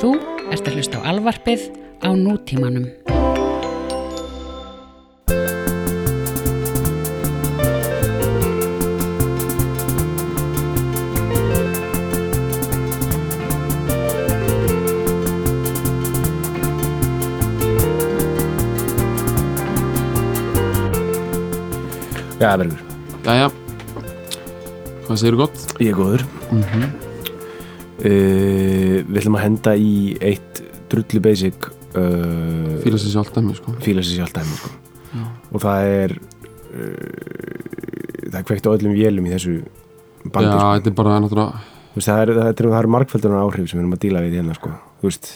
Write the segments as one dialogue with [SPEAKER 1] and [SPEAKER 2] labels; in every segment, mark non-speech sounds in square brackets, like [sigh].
[SPEAKER 1] Þú ert að hlusta á alvarpið á nútímanum.
[SPEAKER 2] Já, verður,
[SPEAKER 3] Jæja, hvað segir þú gott?
[SPEAKER 2] ég er góður
[SPEAKER 3] Mhm.
[SPEAKER 2] uh, Við ætlum að henda í eitt drullu basic uh,
[SPEAKER 3] Fýla sér sjálf dæmi, sko.
[SPEAKER 2] fíla sér sjálf dæmi sko. og það er uh, það er kveikt á öllum vélum í þessu bandi
[SPEAKER 3] Já,
[SPEAKER 2] sko.
[SPEAKER 3] þetta er bara náttúrulega,
[SPEAKER 2] Þú veist, það er, það er, það er markfældunar áhrif sem við erum að díla við hérna sko. Þú veist,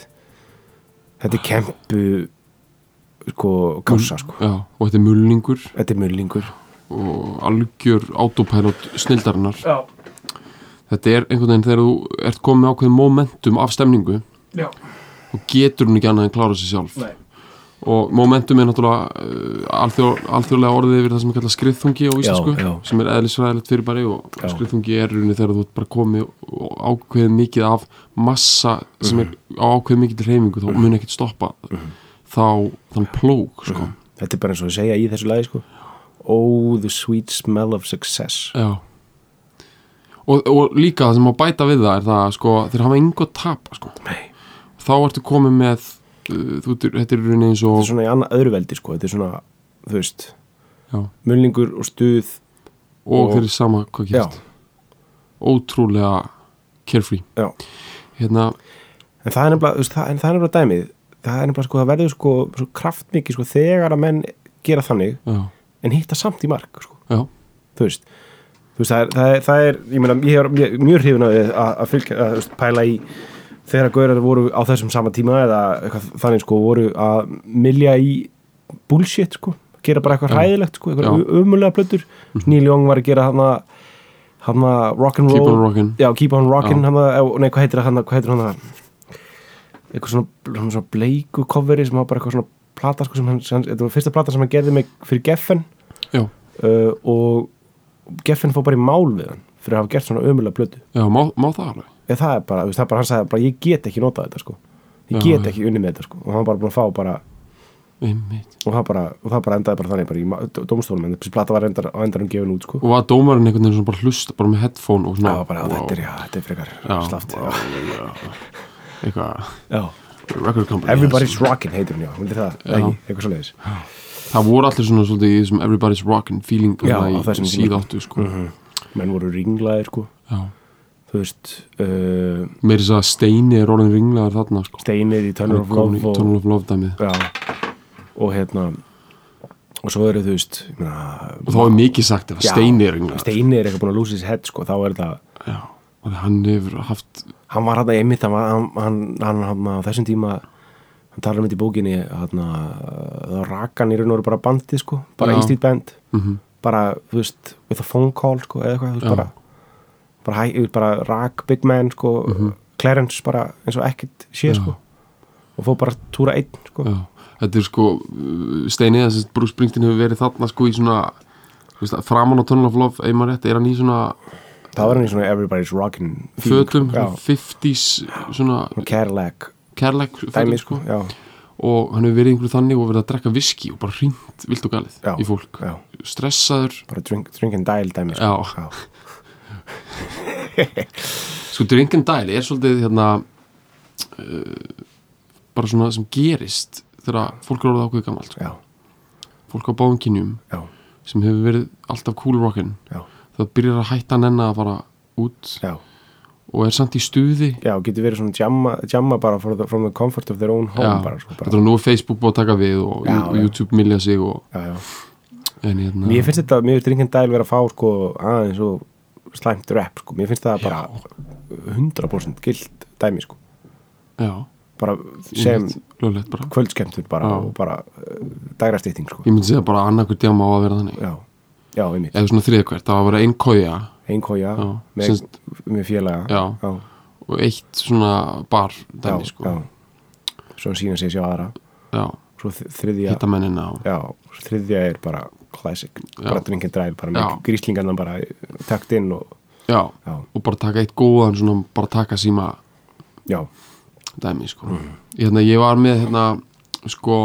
[SPEAKER 2] þetta er kempu sko, kása sko.
[SPEAKER 3] já, og þetta er mulningur
[SPEAKER 2] þetta er mullingur
[SPEAKER 3] og algjör autopilot snildarinnar.
[SPEAKER 2] Já.
[SPEAKER 3] Þetta er einhvern veginn þegar þú ert komið með ákveðin momentum af stemningu
[SPEAKER 2] Já.
[SPEAKER 3] og getur hún ekki annað en klára sér sjálf.
[SPEAKER 2] Nei.
[SPEAKER 3] Og momentum er náttúrulega uh, alþjó, alþjóðlega orðið yfir það sem er kallað skriðþungi á íslensku,
[SPEAKER 2] já.
[SPEAKER 3] sem er eðlisfræðilegt fyrirbæri og
[SPEAKER 2] Já.
[SPEAKER 3] skriðþungi er runni þegar þú ert bara komið og ákveðið mikið af massa sem er
[SPEAKER 2] Mhm.
[SPEAKER 3] á ákveðið mikið til reyfingu, þá mun ekkert stoppa þá þann plók,
[SPEAKER 2] Mhm.
[SPEAKER 3] sko.
[SPEAKER 2] þetta er bara eins og að segja í þessu lagi sko. Oh, the sweet smell of success
[SPEAKER 3] Já og, og líka það sem má bæta við það er það sko, þeir hafa engu að tapa sko.
[SPEAKER 2] Nei.
[SPEAKER 3] þá ertu komið með uh, þú, ert- þetta er í rauninni eins
[SPEAKER 2] þetta er
[SPEAKER 3] og
[SPEAKER 2] svona í annað öðru veldi sko. þetta er svona, þú veist
[SPEAKER 3] já,
[SPEAKER 2] mulningur og stuð
[SPEAKER 3] og þeir eru sama hvað
[SPEAKER 2] já,
[SPEAKER 3] gerst ótrúlega carefree
[SPEAKER 2] já.
[SPEAKER 3] hérna,
[SPEAKER 2] en það er nefnilega, þú veist, það, en það er nefnilega dæmið það er nefnilega sko, það verður sko svo kraftmikið sko þegar að menn gera þannig
[SPEAKER 3] já,
[SPEAKER 2] en hitta samt í mark sko,
[SPEAKER 3] já
[SPEAKER 2] þú veist þú veist, það er, það er, það er ég meina, ég er mjög- mjög hrifin að, að fylgja, að, þú veist, pæla í þegar að gaurar voru á þessum sama tíma eða eitthvað þannig sko, voru að milja í bullshit sko gera bara eitthvað
[SPEAKER 3] Já.
[SPEAKER 2] hræðilegt sko,
[SPEAKER 3] Já. Mhm.
[SPEAKER 2] eitthvað umulega plötur Neil Young var að gera hann að hann að rock'n'roll
[SPEAKER 3] keep on rockin
[SPEAKER 2] Já, Keep on Rockin'
[SPEAKER 3] Já.
[SPEAKER 2] hann að, eh, nei, hvað heitir hann hvað heitir hann að eitthvað svona, svona, svona bleiku coveri sem var bara eitthvað svona plata sko, sem hann, sem hann, þetta var fyrsta plata sem hann gerði mig fyrir Geffen
[SPEAKER 3] já,
[SPEAKER 2] uh, og Geffen fór bara í mál við hann fyrir að hafa gert svona ömulega blötu
[SPEAKER 3] já, má, má það alveg
[SPEAKER 2] eða það er bara, þú veist, það er bara, hann sagði bara ég get ekki notað þetta sko, ég
[SPEAKER 3] Já,
[SPEAKER 2] get
[SPEAKER 3] já.
[SPEAKER 2] ekki unni með þetta sko, og hann var bara búin að fá bara
[SPEAKER 3] Einmitt.
[SPEAKER 2] og það bara, og það bara endaði bara þannig bara í ma- dó- dómstólum, en þessi plata var endar, á endarum gefin út sko,
[SPEAKER 3] og var dómarinn einhvern veginn svona bara hlusta bara með headphone og
[SPEAKER 2] það
[SPEAKER 3] svona
[SPEAKER 2] var bara, wow. þetta er, já, þetta er frekar slaft,
[SPEAKER 3] já, já, eitthvað
[SPEAKER 2] já,
[SPEAKER 3] record company
[SPEAKER 2] Everybody's Rockin' heitir hún, já, hún er það,
[SPEAKER 3] Já.
[SPEAKER 2] ekki, eitthvað svoleiðis
[SPEAKER 3] það voru allir svona svolítið í þessum everybody's rockin' feeling
[SPEAKER 2] Já, á
[SPEAKER 3] þarna
[SPEAKER 2] þessum
[SPEAKER 3] í
[SPEAKER 2] tíma. Mhm.
[SPEAKER 3] síðáttu sko.
[SPEAKER 2] menn voru ringlaðir sko
[SPEAKER 3] Já.
[SPEAKER 2] þú veist uh,
[SPEAKER 3] meiri þess að steini er orðin ringlegar þarna sko.
[SPEAKER 2] steinir í
[SPEAKER 3] Hann
[SPEAKER 2] Tunnel
[SPEAKER 3] er
[SPEAKER 2] of
[SPEAKER 3] komin í
[SPEAKER 2] Love
[SPEAKER 3] Tunnel
[SPEAKER 2] og,
[SPEAKER 3] of Love dæmið
[SPEAKER 2] já, og hérna og svo eru þú veist ég meina,
[SPEAKER 3] og þá er mikið sagt ef að
[SPEAKER 2] já,
[SPEAKER 3] steini er ringlegar
[SPEAKER 2] Steini er eitthvað búin að lose his head sko þá er það
[SPEAKER 3] Já. og hann hefur haft
[SPEAKER 2] hann var hérna einmitt hann, var- hann, hann, hann, hann á þessum tíma hann talar um þetta í bókinni hann, þá rak hann í raun og veru bara bandið sko bara
[SPEAKER 3] Já.
[SPEAKER 2] einstýtt band
[SPEAKER 3] mm
[SPEAKER 2] bara þú veist with a phone call sko eða eitthvað þú veist
[SPEAKER 3] Já.
[SPEAKER 2] bara bara, hæ, bara rak big man sko Clarence bara eins og ekkert sé
[SPEAKER 3] Mhm. Já.
[SPEAKER 2] sko og fór bara að túra einn sko
[SPEAKER 3] Já. þetta er sko uh, steini þess að Bruce Springsteen hefur verið þarna sko í svona þú veist, að framan á Tunnel of Love einmar rétt er hann í svona
[SPEAKER 2] það var hann í svona everybody's rockin' feeling,
[SPEAKER 3] fötum
[SPEAKER 2] sko. Já.
[SPEAKER 3] 50s svona
[SPEAKER 2] Svona Cadillac
[SPEAKER 3] kærleik
[SPEAKER 2] dæmi
[SPEAKER 3] fötum
[SPEAKER 2] sko
[SPEAKER 3] sko
[SPEAKER 2] já,
[SPEAKER 3] og hann hefur verið einhverju þannig og verið að drekka viski og bara hringt vilt og galið
[SPEAKER 2] Já.
[SPEAKER 3] í fólk
[SPEAKER 2] já,
[SPEAKER 3] stressaður
[SPEAKER 2] bara drink, drink and dial dæmi sko.
[SPEAKER 3] Já.
[SPEAKER 2] Já.
[SPEAKER 3] sko Drink and Dial er svolítið hérna uh, bara svona sem gerist þegar fólk er orðið ákveðið gamalt sko.
[SPEAKER 2] já,
[SPEAKER 3] fólk á báðum kynjum
[SPEAKER 2] já,
[SPEAKER 3] sem hefur verið alltaf cool rockin
[SPEAKER 2] já,
[SPEAKER 3] það byrjar að hætta að nenna að fara út
[SPEAKER 2] já
[SPEAKER 3] og er samt í stuði
[SPEAKER 2] já, getur verið svona jamma, jamma bara for the, from the comfort of their own home
[SPEAKER 3] Já,
[SPEAKER 2] bara, sko,
[SPEAKER 3] þetta
[SPEAKER 2] bara.
[SPEAKER 3] er nú er Facebook búið að taka við og
[SPEAKER 2] Já,
[SPEAKER 3] já,
[SPEAKER 2] já.
[SPEAKER 3] YouTube milja sig og,
[SPEAKER 2] Já, já.
[SPEAKER 3] en hérna
[SPEAKER 2] mér finnst þetta, mér finnst drink and dial vera að fá sko aðeins og slæmt rap sko, mér finnst það bara 100% gilt dæmi sko
[SPEAKER 3] já,
[SPEAKER 2] bara sem
[SPEAKER 3] löglegt bara
[SPEAKER 2] kvöldskemtur bara
[SPEAKER 3] Já.
[SPEAKER 2] og bara uh, dagrastýtting sko
[SPEAKER 3] ég myndi segja bara annakur djáma á að vera þannig
[SPEAKER 2] já, já, einmitt,
[SPEAKER 3] eða svona þriðkvært, það var að vera einn koja
[SPEAKER 2] einhója
[SPEAKER 3] Já,
[SPEAKER 2] með,
[SPEAKER 3] semst-
[SPEAKER 2] með félaga
[SPEAKER 3] Já.
[SPEAKER 2] já,
[SPEAKER 3] og eitt svona bar
[SPEAKER 2] já,
[SPEAKER 3] dæmi sko
[SPEAKER 2] já. svo sína sér sér aðra
[SPEAKER 3] já,
[SPEAKER 2] svo þ- þriðja
[SPEAKER 3] hitta mennina og
[SPEAKER 2] já, svo þriðja er bara classic,
[SPEAKER 3] Já.
[SPEAKER 2] bara drink and drive bara með
[SPEAKER 3] Já.
[SPEAKER 2] gríslingarna bara eh, takt inn og
[SPEAKER 3] Já,
[SPEAKER 2] já,
[SPEAKER 3] og bara taka eitt góðan svona, bara taka síma
[SPEAKER 2] já,
[SPEAKER 3] dæmi sko.
[SPEAKER 2] Mm.
[SPEAKER 3] hérna, ég var með hérna, sko,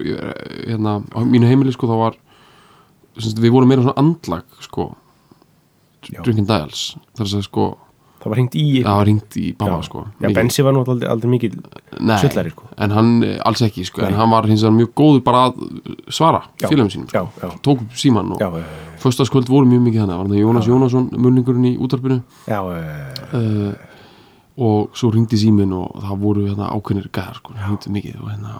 [SPEAKER 3] hérna, á mínu heimili sko, þá var semst, við vorum meira svona andlag sko,
[SPEAKER 2] Já.
[SPEAKER 3] Drunken Dials þar að segja sko,
[SPEAKER 2] það var hengt í
[SPEAKER 3] það var hringt í pappa sko,
[SPEAKER 2] já,
[SPEAKER 3] mikið.
[SPEAKER 2] Bensi var nú aldrei, aldrei mikil
[SPEAKER 3] Nei,
[SPEAKER 2] sullari, sko.
[SPEAKER 3] en hann eh, alls ekki sko, en hann var hins vegar mjög góður bara að eh, svara
[SPEAKER 2] Já.
[SPEAKER 3] félagum sínum sko.
[SPEAKER 2] já, já,
[SPEAKER 3] tók upp síman
[SPEAKER 2] já, eh,
[SPEAKER 3] og
[SPEAKER 2] já,
[SPEAKER 3] föstaskvöld voru mjög mikið þannig var þannig Jónas Jónasson, munningurinn í útarpinu
[SPEAKER 2] já, eh, já,
[SPEAKER 3] uh, og svo ringdi símin og það voru hérna, ákveðnir gæðar sko, hringdu mikið og, hérna,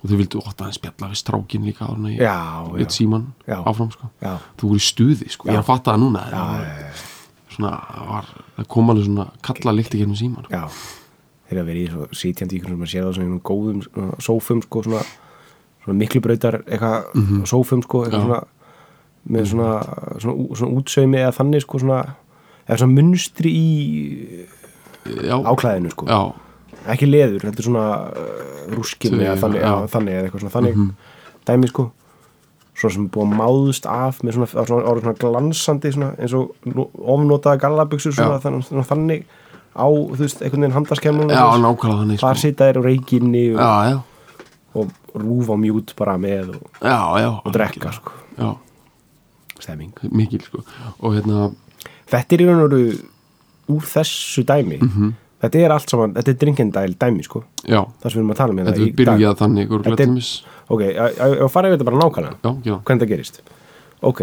[SPEAKER 3] og þau vildu ótt aðeins spjalla við strákin líka áður en ég
[SPEAKER 2] Já,
[SPEAKER 3] lét
[SPEAKER 2] já.
[SPEAKER 3] síman
[SPEAKER 2] Já.
[SPEAKER 3] áfram sko.
[SPEAKER 2] já.
[SPEAKER 3] þú voru í stuði, sko. ég er að fatta það núna já, svona, það var, það kom alveg svona kalla líkti gegnum síman sko.
[SPEAKER 2] Já, þeir að vera í svo sitjandi ykkur sem að sér það svona í einhverjum góðum svona sófum sko, svona, svona miklubrautar eitthvað sófum sko, eitthvað
[SPEAKER 3] Mhm. Já.
[SPEAKER 2] svona með svona, svona, ú- svona útsaumi eða þannig sko, svona, eða svona munstri í
[SPEAKER 3] já,
[SPEAKER 2] áklæðinu sko,
[SPEAKER 3] já,
[SPEAKER 2] ekki leður þetta er svona uh, rúskin
[SPEAKER 3] Þau-
[SPEAKER 2] eða þannig, eða
[SPEAKER 3] já. Mhm.
[SPEAKER 2] þannig eða eitthvað svona þannig dæmi sko svona sem er búið að máðust af með svona, á svona, á svona glansandi svona, eins og nú- ofnotaða gallabuxur svona,
[SPEAKER 3] Já.
[SPEAKER 2] þannig, svona þannig á þú veist, einhvern veginn handaskemmun
[SPEAKER 3] já, nákvæmlega þannig
[SPEAKER 2] þar
[SPEAKER 3] sko.
[SPEAKER 2] sita þér á reikinni og,
[SPEAKER 3] já, já,
[SPEAKER 2] og rúfa mjút bara með og,
[SPEAKER 3] já, já
[SPEAKER 2] og drekka sko.
[SPEAKER 3] já,
[SPEAKER 2] stemming
[SPEAKER 3] mikil sko. og hérna,
[SPEAKER 2] þetta er í raun og veru úr þessu dæmi
[SPEAKER 3] Mhm.
[SPEAKER 2] þetta er allt saman, þetta er dringendæl dæmi sko,
[SPEAKER 3] já
[SPEAKER 2] það sem við erum að tala um hérna
[SPEAKER 3] þetta
[SPEAKER 2] í dag.
[SPEAKER 3] byrjaði þannig
[SPEAKER 2] Þetta
[SPEAKER 3] örgulega
[SPEAKER 2] er-
[SPEAKER 3] til dæmis.
[SPEAKER 2] ok, að- að að fara yfir þetta bara nákvæmlega
[SPEAKER 3] já, já,
[SPEAKER 2] hvernig það gerist ok,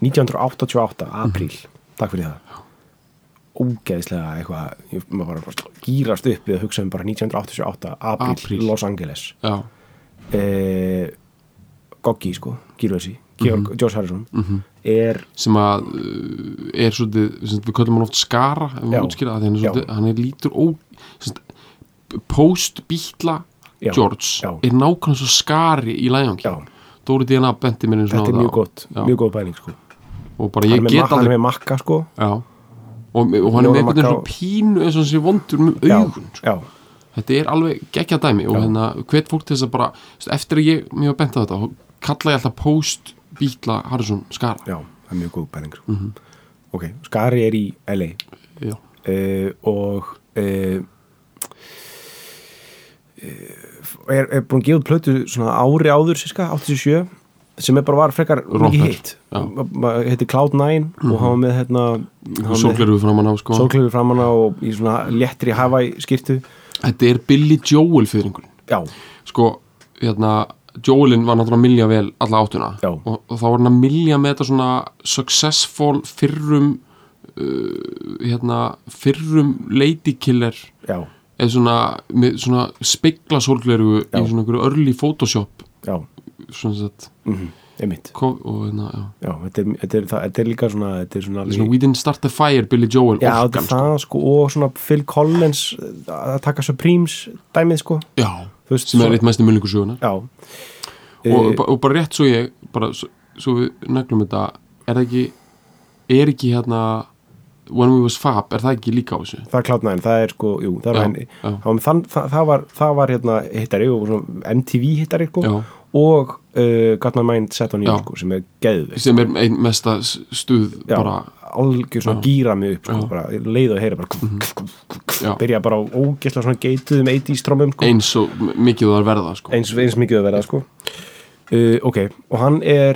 [SPEAKER 2] 1988, apríl
[SPEAKER 3] Mhm.
[SPEAKER 2] takk fyrir það ógeðislega eitthvað, ég- maður bara, bara gýrast upp við að hugsa um bara 1988 apríl,
[SPEAKER 3] Apríl.
[SPEAKER 2] Los Angeles
[SPEAKER 3] já,
[SPEAKER 2] eh, Goggi sko, Gírvesi Georg,
[SPEAKER 3] Mhm.
[SPEAKER 2] George Harrison er
[SPEAKER 3] sem að uh, er svolítið, sem við köllum hann oft skara ef
[SPEAKER 2] Já.
[SPEAKER 3] við útskýra það, því hann er
[SPEAKER 2] Já.
[SPEAKER 3] svolítið hann er lítur ó post-bítla
[SPEAKER 2] Já.
[SPEAKER 3] George
[SPEAKER 2] Já.
[SPEAKER 3] er nákvæmlega svo skari í Lion
[SPEAKER 2] já,
[SPEAKER 3] King Dóri DNA benti mér eins og
[SPEAKER 2] þetta er mjög gott,
[SPEAKER 3] já,
[SPEAKER 2] mjög góð bæling sko.
[SPEAKER 3] og bara
[SPEAKER 2] hann,
[SPEAKER 3] ég
[SPEAKER 2] er með,
[SPEAKER 3] get
[SPEAKER 2] ma- hann er
[SPEAKER 3] alveg
[SPEAKER 2] með makka sko
[SPEAKER 3] já, og, og hann er með
[SPEAKER 2] Jóra
[SPEAKER 3] einhvern veginn
[SPEAKER 2] Maggá.
[SPEAKER 3] svo pínu eins og hann sé vondur með
[SPEAKER 2] já,
[SPEAKER 3] augun sko.
[SPEAKER 2] já,
[SPEAKER 3] þetta er alveg geggja dæmi og
[SPEAKER 2] Já.
[SPEAKER 3] hérna hvet fólk til þess að bara veist, eftir að ég mjög bent á þetta þá kalla ég alltaf post bítla Harrison skara
[SPEAKER 2] já, það er mjög góð bæling sko.
[SPEAKER 3] Mhm.
[SPEAKER 2] ok, Skari er í LA
[SPEAKER 3] já,
[SPEAKER 2] uh, og uh, eh, er, er búin að gefa út plötu svona ári áður síska, 87 sem er bara var frekar mikið
[SPEAKER 3] Rocker,
[SPEAKER 2] hitt
[SPEAKER 3] já. Mhm.
[SPEAKER 2] heitir Cloud9 og hann var með hérna hann var með-
[SPEAKER 3] sorgleru framan á sko
[SPEAKER 2] sólgleru framann á og í svona léttri Hawaii skýrtu
[SPEAKER 3] þetta er Billy Joel fyrringurinn
[SPEAKER 2] já,
[SPEAKER 3] sko, hérna Joelin var náttúrulega að milja vel alla áttuna
[SPEAKER 2] Já.
[SPEAKER 3] og, og þá var hann að milja með þetta svona successful fyrrum uh, hérna fyrrum lady killer
[SPEAKER 2] já,
[SPEAKER 3] eða svona, með svona spegla sorgleru
[SPEAKER 2] Já.
[SPEAKER 3] í svona einhverju örli photoshop
[SPEAKER 2] já, Mhm,
[SPEAKER 3] svona sett,
[SPEAKER 2] einmitt
[SPEAKER 3] kom, og hérna, já
[SPEAKER 2] já, þetta, er, þetta, er, það, þetta er líka svona, þetta er svona,
[SPEAKER 3] Þetta er svona We Didn't Start the Fire, Billy Joel
[SPEAKER 2] já, þetta
[SPEAKER 3] orkan,
[SPEAKER 2] er það sko og svona Phil Collins að taka Supremes dæmið sko
[SPEAKER 3] sko. já,
[SPEAKER 2] Þú veist,
[SPEAKER 3] sem
[SPEAKER 2] svo-
[SPEAKER 3] er eitt mest í mullingu sögunar
[SPEAKER 2] já, Eh,
[SPEAKER 3] og, ba- og bara rétt svo ég bara, svo, svo við nöglum þetta er það ekki, er ekki hérna When We Was Fab, er það ekki líka á þessu
[SPEAKER 2] það er Cloud9, það er sko, jú, það,
[SPEAKER 3] Já,
[SPEAKER 2] já, henni,
[SPEAKER 3] já.
[SPEAKER 2] það, var, þann, það, það var það var hérna hittari og svona MTV hittari sko
[SPEAKER 3] Já.
[SPEAKER 2] og uh, Got My Mind Set On You
[SPEAKER 3] Já.
[SPEAKER 2] sko sem er geðveik
[SPEAKER 3] sem er einn mesta s- stuð
[SPEAKER 2] Já,
[SPEAKER 3] bara,
[SPEAKER 2] algjör svona gýra mig upp sko,
[SPEAKER 3] Já. Mhm.
[SPEAKER 2] bara, leið og heyra bara mm
[SPEAKER 3] Já.
[SPEAKER 2] byrja bara á ógæsla svona geituðum 80s trómum sko,
[SPEAKER 3] eins og m- mikið það er verða sko.
[SPEAKER 2] eins, eins mikið að vera sko uh, ok, og hann er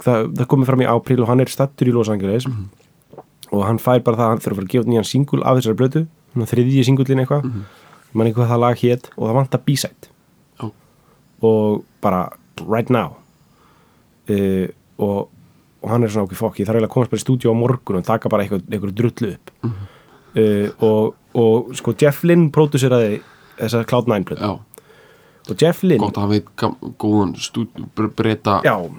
[SPEAKER 2] það, það komið fram í apríl og hann er stattur í Los Angeles
[SPEAKER 3] Mhm.
[SPEAKER 2] og hann fær bara það, hann þurfa að fara að gefa út nýjan singul af þessari blötu, svona þriðji singullin eitthvað
[SPEAKER 3] Mhm.
[SPEAKER 2] mm -hmm. mann eitthvað það lag hét og það vantar b-side
[SPEAKER 3] Já.
[SPEAKER 2] og bara right now uh, og, og hann er svona okkur fokki, það er eiginlega að komast bara í stúdíu á morgun og taka bara eitthvað, eitthvað drullu upp
[SPEAKER 3] Mhm.
[SPEAKER 2] uh, og, og sko Jeff Lynn próduseraði þessar Cloud9 blötu
[SPEAKER 3] já,
[SPEAKER 2] og Jeff Lynn
[SPEAKER 3] gott að hafa eitt gam- góðan stuð, breyta
[SPEAKER 2] já,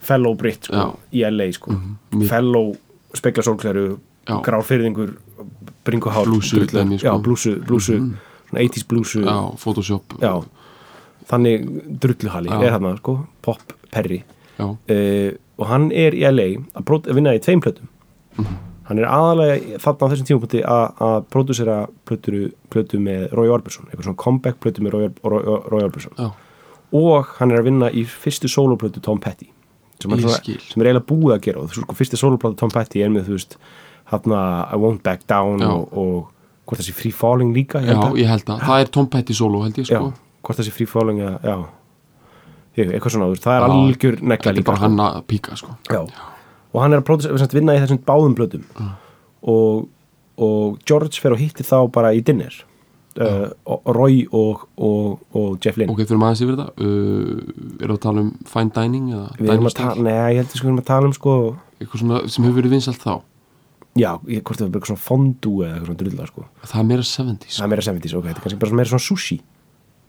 [SPEAKER 2] fellow britt sko,
[SPEAKER 3] Já. Mhm.
[SPEAKER 2] í LA sko
[SPEAKER 3] mjög-
[SPEAKER 2] fellow spekla sólkleru
[SPEAKER 3] Já.
[SPEAKER 2] gráfyrðingur bringuhál
[SPEAKER 3] Blúsu
[SPEAKER 2] drullar.
[SPEAKER 3] dæmi, sko. Mhm.
[SPEAKER 2] já, blúsu, blúsu svona 80s blúsu
[SPEAKER 3] já, Photoshop
[SPEAKER 2] Já. þannig drulluhali
[SPEAKER 3] Já.
[SPEAKER 2] er hann sko, pop perri
[SPEAKER 3] já,
[SPEAKER 2] uh, og hann er í LA að, brot, að vinna í tveim plötum
[SPEAKER 3] Mhm.
[SPEAKER 2] hann er aðalega þarna á þessum tímapunkti að- að pródúsera plötu, plötu með Roy Orbison, eitthvað svona comeback plötu með Roy, Or- Roy, Roy Orbison
[SPEAKER 3] já,
[SPEAKER 2] og hann er að vinna í fyrstu soloplötu Tom Petty sem, hann
[SPEAKER 3] Ég
[SPEAKER 2] svona-
[SPEAKER 3] skil.
[SPEAKER 2] sem er eiginlega búið að gera og þú veist, sko, fyrstu soloplötu Tom Petty er með þú veist, hann I Won't Back Down
[SPEAKER 3] Já.
[SPEAKER 2] og, og hvort það sé free falling líka ég
[SPEAKER 3] já,
[SPEAKER 2] held að-
[SPEAKER 3] ég held að, það er Tom Petty solo held ég
[SPEAKER 2] já,
[SPEAKER 3] sko
[SPEAKER 2] hvort það sé free falling eða, já, ég, eitthvað svona áður það er
[SPEAKER 3] Já,
[SPEAKER 2] algjör negla
[SPEAKER 3] þetta er
[SPEAKER 2] líka
[SPEAKER 3] bara
[SPEAKER 2] sko.
[SPEAKER 3] hann að píka sko
[SPEAKER 2] já. og hann er að pródus, sem sagt, vinna í þessum báðum blöðum og, og George fer og hittir þá bara í dinner uh, og- og Roy og, og, og Jeff Lynn
[SPEAKER 3] ok, þurfum aðeins yfir þetta uh, erum við að tala um fine dining eða
[SPEAKER 2] við erum
[SPEAKER 3] dining
[SPEAKER 2] að tala,
[SPEAKER 3] style?
[SPEAKER 2] neða, ég held við skulum að tala um sko,
[SPEAKER 3] eitthvað svona sem hefur verið vinsalt þá
[SPEAKER 2] já, ég, hvort það er bara eitthvað svona fondue eða eitthvað svona drulla sko.
[SPEAKER 3] það er meira 70s
[SPEAKER 2] það er meira 70s, ok, þetta er kannski bara svona meira svona sushi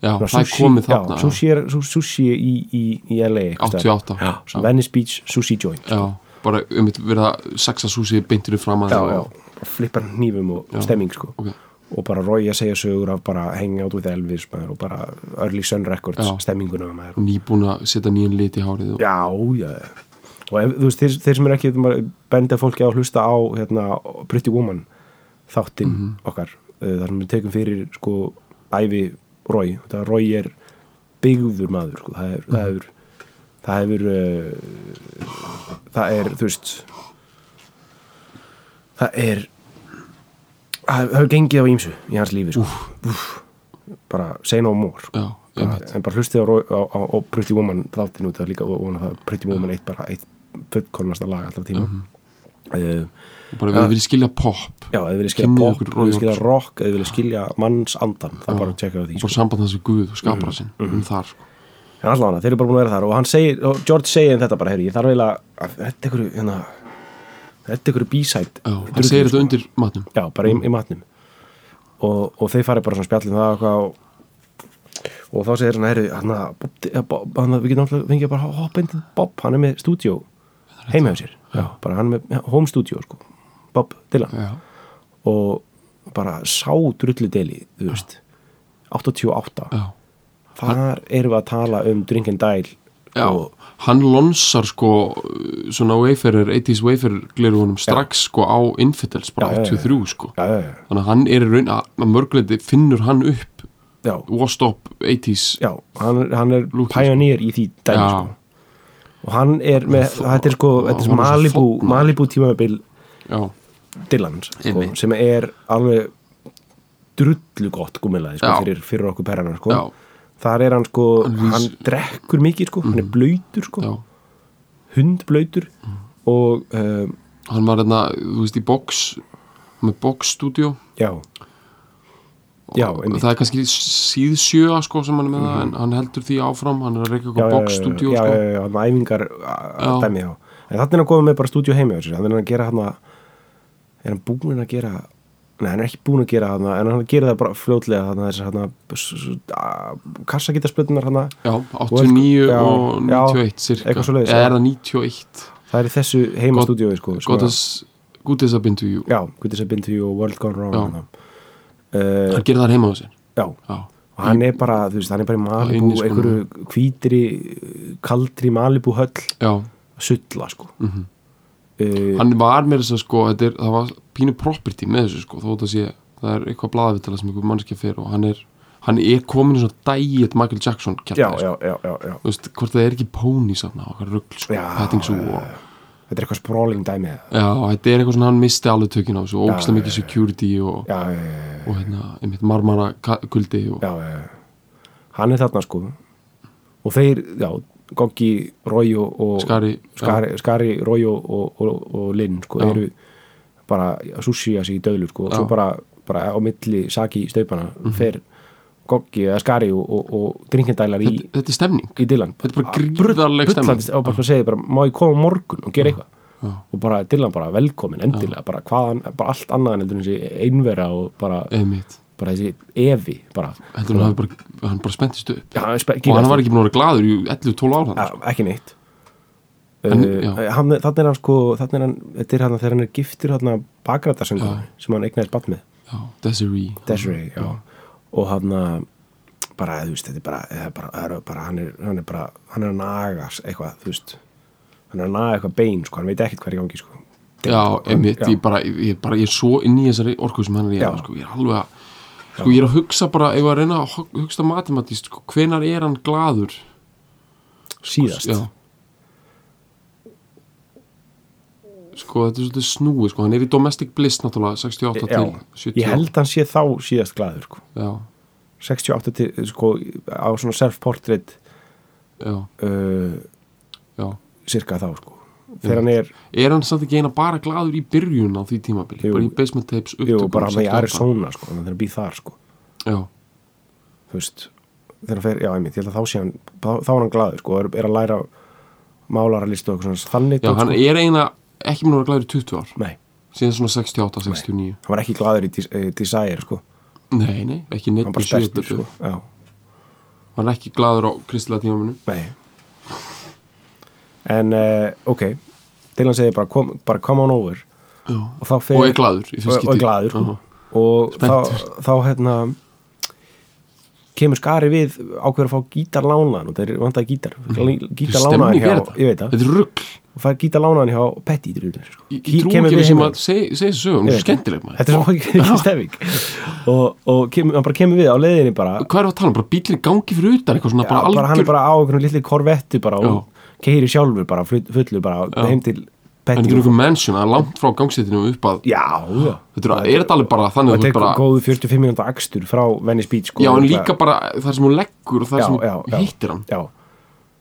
[SPEAKER 3] já,
[SPEAKER 2] Svona
[SPEAKER 3] það er komið
[SPEAKER 2] já,
[SPEAKER 3] þarna
[SPEAKER 2] sushi, er, sú- sushi í, í, í LA einhvers staðar.
[SPEAKER 3] 88.
[SPEAKER 2] já, svona
[SPEAKER 3] Já.
[SPEAKER 2] Venice Beach sushi joint
[SPEAKER 3] já, bara um þetta verið að saxa súsi beintir upp fram að
[SPEAKER 2] já, já, bara flippar hnífum og stemming sko
[SPEAKER 3] Ok.
[SPEAKER 2] og bara Roy að segja sögur af bara hanging out with Elvis maður, og bara early sun records
[SPEAKER 3] Já.
[SPEAKER 2] stemminguna maður
[SPEAKER 3] og nýbúin að setja nýjan lit í hárið og,
[SPEAKER 2] já, já og ef, þú veist, þeir, þeir sem eru ekki þú bara benda fólki á að hlusta á hérna, Pretty Woman þáttinn
[SPEAKER 3] Mhm.
[SPEAKER 2] okkar uh, þar sem við tekum fyrir sko æfi Rói, þetta Rói er byggður maður sko, það er,
[SPEAKER 3] Mhm.
[SPEAKER 2] það hefur það hefur uh, það er, þú veist það er það það hefur gengið á ímsu í hans lífi sko. Úf. bara say no more sko
[SPEAKER 3] já, já,
[SPEAKER 2] bara, en bara hlustið á, Roy- á, á, á Pretty Woman þáttinu út af líka og vona það Pretty Woman eitt bara eitt fullkornasta lag alltaf tíma
[SPEAKER 3] Mhm.
[SPEAKER 2] uh,
[SPEAKER 3] og bara við viljum skilja pop
[SPEAKER 2] já, ef þið vilja skilja
[SPEAKER 3] Kynnið
[SPEAKER 2] pop,
[SPEAKER 3] ykkur
[SPEAKER 2] ef þið
[SPEAKER 3] Roy
[SPEAKER 2] vilja skilja
[SPEAKER 3] Orbison.
[SPEAKER 2] rock ef þið vilja skilja manns andan það bara tjekka á því
[SPEAKER 3] og
[SPEAKER 2] sko.
[SPEAKER 3] bara samband hans við Guð og
[SPEAKER 2] Mhm,
[SPEAKER 3] skapra sinn um þar sko.
[SPEAKER 2] en allavega þeir eru bara búin að vera þar og hann segir, og George segir þeim þetta bara, herri, ég þarf eiginlega að þetta ykkur, hérna þetta ykkur b-side
[SPEAKER 3] já,
[SPEAKER 2] drullu,
[SPEAKER 3] hann segir þetta
[SPEAKER 2] sko.
[SPEAKER 3] undir matnum
[SPEAKER 2] já, bara í,
[SPEAKER 3] Mm.
[SPEAKER 2] í matnum og, og þeir farið bara svona spjallin það og eitthvað og, og þá segir svona, herri, hann að Bob- eh, Bob- hann að við getum alltaf, fengið bara hoppa inn til Bob, hann er með stúdíó heima hjá sér, já, bara hann er með ja, home studio, sko, Bob Dylan
[SPEAKER 3] já,
[SPEAKER 2] og bara sá drullu deli, þú veist 88,
[SPEAKER 3] já,
[SPEAKER 2] þar erum við að tala um Drink and Dial
[SPEAKER 3] já.
[SPEAKER 2] og
[SPEAKER 3] hann lonsar sko uh, svona wayfarer, 80s wayfarer glerugunum strax sko á Infidels bara
[SPEAKER 2] Já, já, já.
[SPEAKER 3] 83 sko
[SPEAKER 2] já, já, já,
[SPEAKER 3] þannig að hann er í raun að að mörguleiti finnur hann upp
[SPEAKER 2] já,
[SPEAKER 3] washed up 80s
[SPEAKER 2] já hann, er- hann er
[SPEAKER 3] Lúkið, sko.
[SPEAKER 2] pæjanýr í því dæmi, sko og hann er með,
[SPEAKER 3] Þó-
[SPEAKER 2] þetta er sko þetta er svo
[SPEAKER 3] hann er svo
[SPEAKER 2] Malibu,
[SPEAKER 3] þófnaður.
[SPEAKER 2] Malibu tímabil
[SPEAKER 3] já,
[SPEAKER 2] Dylan sko,
[SPEAKER 3] Einmitt.
[SPEAKER 2] sem er alveg drullu gott gúmilaði sko,
[SPEAKER 3] Já.
[SPEAKER 2] fyrir, fyrir okkur perranar sko.
[SPEAKER 3] Já.
[SPEAKER 2] þar er hann sko,
[SPEAKER 3] lýs-
[SPEAKER 2] hann drekkur mikið sko, hann er blöytur sko,
[SPEAKER 3] já,
[SPEAKER 2] hundblöytur og um,
[SPEAKER 3] hann var hérna þú veist í box með boxstudio
[SPEAKER 2] já já, einmitt Mm.
[SPEAKER 3] það er kannski síðsjöa sko sem hann er með það en hann heldur því áfram hann er að reyka
[SPEAKER 2] Já,
[SPEAKER 3] eitthvað
[SPEAKER 2] já, já,
[SPEAKER 3] boxstudio
[SPEAKER 2] já,
[SPEAKER 3] sko.
[SPEAKER 2] já, já, já, með æfingar
[SPEAKER 3] Já.
[SPEAKER 2] að dæmi já en þannig er hann komið með bara stúdíu heima hjá sér. hann er hann að gera hann er hann búin að gera nei, hann er ekki búin að gera hann en hann er að gera það bara fljótlega hann er hann kassagítarsplutunar hann
[SPEAKER 3] já, 89
[SPEAKER 2] Já,
[SPEAKER 3] og
[SPEAKER 2] já,
[SPEAKER 3] 91 cirka
[SPEAKER 2] eitthvað svoleiðis,
[SPEAKER 3] eða
[SPEAKER 2] já.
[SPEAKER 3] er það 91
[SPEAKER 2] það er í þessu heima stúdíu sko, sem
[SPEAKER 3] gott
[SPEAKER 2] að-
[SPEAKER 3] að gútið þess að bindu jú
[SPEAKER 2] já, Good Is a Bin to You og World Gone Wrong
[SPEAKER 3] Já.
[SPEAKER 2] hana. uh,
[SPEAKER 3] hann gerir það heima á sér
[SPEAKER 2] já,
[SPEAKER 3] já,
[SPEAKER 2] og hann er bara þú veist, hann er bara í Malibu,
[SPEAKER 3] inni, sko.
[SPEAKER 2] einhverju hvítri uh, kaldri Malibu höll
[SPEAKER 3] já.
[SPEAKER 2] að sulla, sko uh,
[SPEAKER 3] Mhm. hann var með þess að segja, sko þetta er, það var pínu property með þessu sko þó það sé það er eitthvað blaðavitala sem einhver mannskja fer og hann er hann er komin í svona dæið Michael Jackson
[SPEAKER 2] já,
[SPEAKER 3] kjartaði,
[SPEAKER 2] já, já, já, já
[SPEAKER 3] Þú veist, hvort það er ekki ponies þarna og okkar rugl sko,
[SPEAKER 2] Já,
[SPEAKER 3] pettingsú
[SPEAKER 2] já,
[SPEAKER 3] og
[SPEAKER 2] þetta er eitthvað sprawling dæmi eða?
[SPEAKER 3] Já, þetta er eitthvað svona hann misti alveg tökina á þessu og ógislega mikið security og,
[SPEAKER 2] já, já, já, já,
[SPEAKER 3] og hérna, einmitt marmara kuldi og,
[SPEAKER 2] já, já, já hann er þarna, sko og þeir, já, Goggi, Rói og og-
[SPEAKER 3] Skari, já.
[SPEAKER 2] Skari, Skari Rói og, og, og, og Linn, sko,
[SPEAKER 3] Já.
[SPEAKER 2] eru bara að súsíja sig í döðlu, sko og svo
[SPEAKER 3] Já. Mhm.
[SPEAKER 2] bara, bara á milli saki í staupana fer Goggi eða Skari og, og, og drinkendælar í,
[SPEAKER 3] þetta, þetta er stemning
[SPEAKER 2] í Dylan
[SPEAKER 3] Þetta er bara gríðarleg
[SPEAKER 2] stemning
[SPEAKER 3] stemning.
[SPEAKER 2] og bara segir bara, má ég koma á morgun og gera eitthvað
[SPEAKER 3] Já.
[SPEAKER 2] og bara Dylan bara velkomin endilega, bara hvaðan, bara allt annað en heldur en þessi einvera og bara,
[SPEAKER 3] einmitt,
[SPEAKER 2] bara þessi evi bara,
[SPEAKER 3] heldur hann hafi bara, hann bara spenntist upp
[SPEAKER 2] já, spe,
[SPEAKER 3] og hann var ekki búin að vera gladur í 11-12 ára
[SPEAKER 2] ja,
[SPEAKER 3] þarna,
[SPEAKER 2] ekki neitt
[SPEAKER 3] En,
[SPEAKER 2] Uh,
[SPEAKER 3] já.
[SPEAKER 2] hann, þannig er hann sko þannig er hann, þetta er hann þegar hann er giftur hann að bakrætarsöngur sem hann eignaðist bann með
[SPEAKER 3] sko. já, Desiree
[SPEAKER 2] Desiree, já og hann að bara, þú veist, þetta er bara, það er bara, það er bara hann, er, hann er bara, hann er að naga eitthvað, þú veist hann er að naga eitthvað bein, sko, hann veit ekkert hvað er í gangi, sko
[SPEAKER 3] já, einmitt,
[SPEAKER 2] Já.
[SPEAKER 3] ég bara, ég bara ég er svo inn í þessari orku sem hann er í
[SPEAKER 2] Já.
[SPEAKER 3] já. sko, ég er alveg að sko, ég er að hugsa bara, ef ég var að reyna að hug- hugsa matematist, sko, hvenar er hann gladur
[SPEAKER 2] síðast,
[SPEAKER 3] já sko þetta er svolítið snúið sko, hann er í domestic bliss náttúrulega 68
[SPEAKER 2] Já.
[SPEAKER 3] til 70
[SPEAKER 2] ég held hann sé þá síðast glæður sko.
[SPEAKER 3] já,
[SPEAKER 2] 68 til, sko, á svona self-portrait
[SPEAKER 3] já,
[SPEAKER 2] uh,
[SPEAKER 3] já
[SPEAKER 2] cirka þá sko. þegar hann er
[SPEAKER 3] er hann samt ekki eina bara glaður í byrjun á því tímabili,
[SPEAKER 2] Jú.
[SPEAKER 3] bara í basement tapes
[SPEAKER 2] jú, bara hann í
[SPEAKER 3] 68.
[SPEAKER 2] Arizona sko, þannig að hann býð þar sko.
[SPEAKER 3] já,
[SPEAKER 2] þú veist þegar hann fer, já einmitt, ég held að þá sé hann þá, þá er hann glaður, sko, er, er að læra málaralist og eitthvað svona þannig
[SPEAKER 3] já
[SPEAKER 2] dót,
[SPEAKER 3] hann
[SPEAKER 2] sko.
[SPEAKER 3] er eina ekki mér að vera glaður í 20 ár
[SPEAKER 2] nei,
[SPEAKER 3] síðan svona 68, 69
[SPEAKER 2] hann var ekki glaður í Des- eh, Desire, sko,
[SPEAKER 3] nei, nei, ekki neitt
[SPEAKER 2] hann bara steltur sko. já,
[SPEAKER 3] hann er ekki glaður á kristilega tímaminu
[SPEAKER 2] nei en, uh, ok Dylan segir bara, kom, bara come on over
[SPEAKER 3] já.
[SPEAKER 2] og þá fer
[SPEAKER 3] og er glaður í fyrsta
[SPEAKER 2] og, og er
[SPEAKER 3] skipti.
[SPEAKER 2] glaður sko.
[SPEAKER 3] Já.
[SPEAKER 2] og þá,
[SPEAKER 3] Spenntur.
[SPEAKER 2] þá hérna kemur skari við ákveður að fá gítar lánaðan og þeir vantaði gítar gítar lánaðan
[SPEAKER 3] Mhm. Stemning
[SPEAKER 2] hjá,
[SPEAKER 3] er þetta.
[SPEAKER 2] ég veit það
[SPEAKER 3] þetta er rugg
[SPEAKER 2] og fær gítar lánaðan hjá Petty drifnir, sko.
[SPEAKER 3] ég ég trúi ekki að sem að segja þessu sögum hún er skemmtileg maður
[SPEAKER 2] þetta er svo [laughs] ekki stefing og, og kem, hann bara kemur við á leiðinni bara,
[SPEAKER 3] hvað er það að tala um, bara bílir í gangi fyrir utan eitthvað svona bara
[SPEAKER 2] bara, bara hann er
[SPEAKER 3] algjör
[SPEAKER 2] bara á einhvern litli korvetti bara og keiri sjálfur bara flut- fullur bara
[SPEAKER 3] Já.
[SPEAKER 2] heim til
[SPEAKER 3] en
[SPEAKER 2] Petty
[SPEAKER 3] þetta er einhver mansion, það er langt frá gangsettinu upp að,
[SPEAKER 2] já, já
[SPEAKER 3] þetta er, er þetta alveg bara þannig
[SPEAKER 2] og
[SPEAKER 3] að þú
[SPEAKER 2] þetta
[SPEAKER 3] ert
[SPEAKER 2] er
[SPEAKER 3] bara,
[SPEAKER 2] góðu 45 minúta akstur frá Venice Beach sko,
[SPEAKER 3] já en
[SPEAKER 2] Þetta-
[SPEAKER 3] líka bara þar sem hún leggur og þar
[SPEAKER 2] Já,
[SPEAKER 3] sem
[SPEAKER 2] já, já.
[SPEAKER 3] hún hittir hann
[SPEAKER 2] já,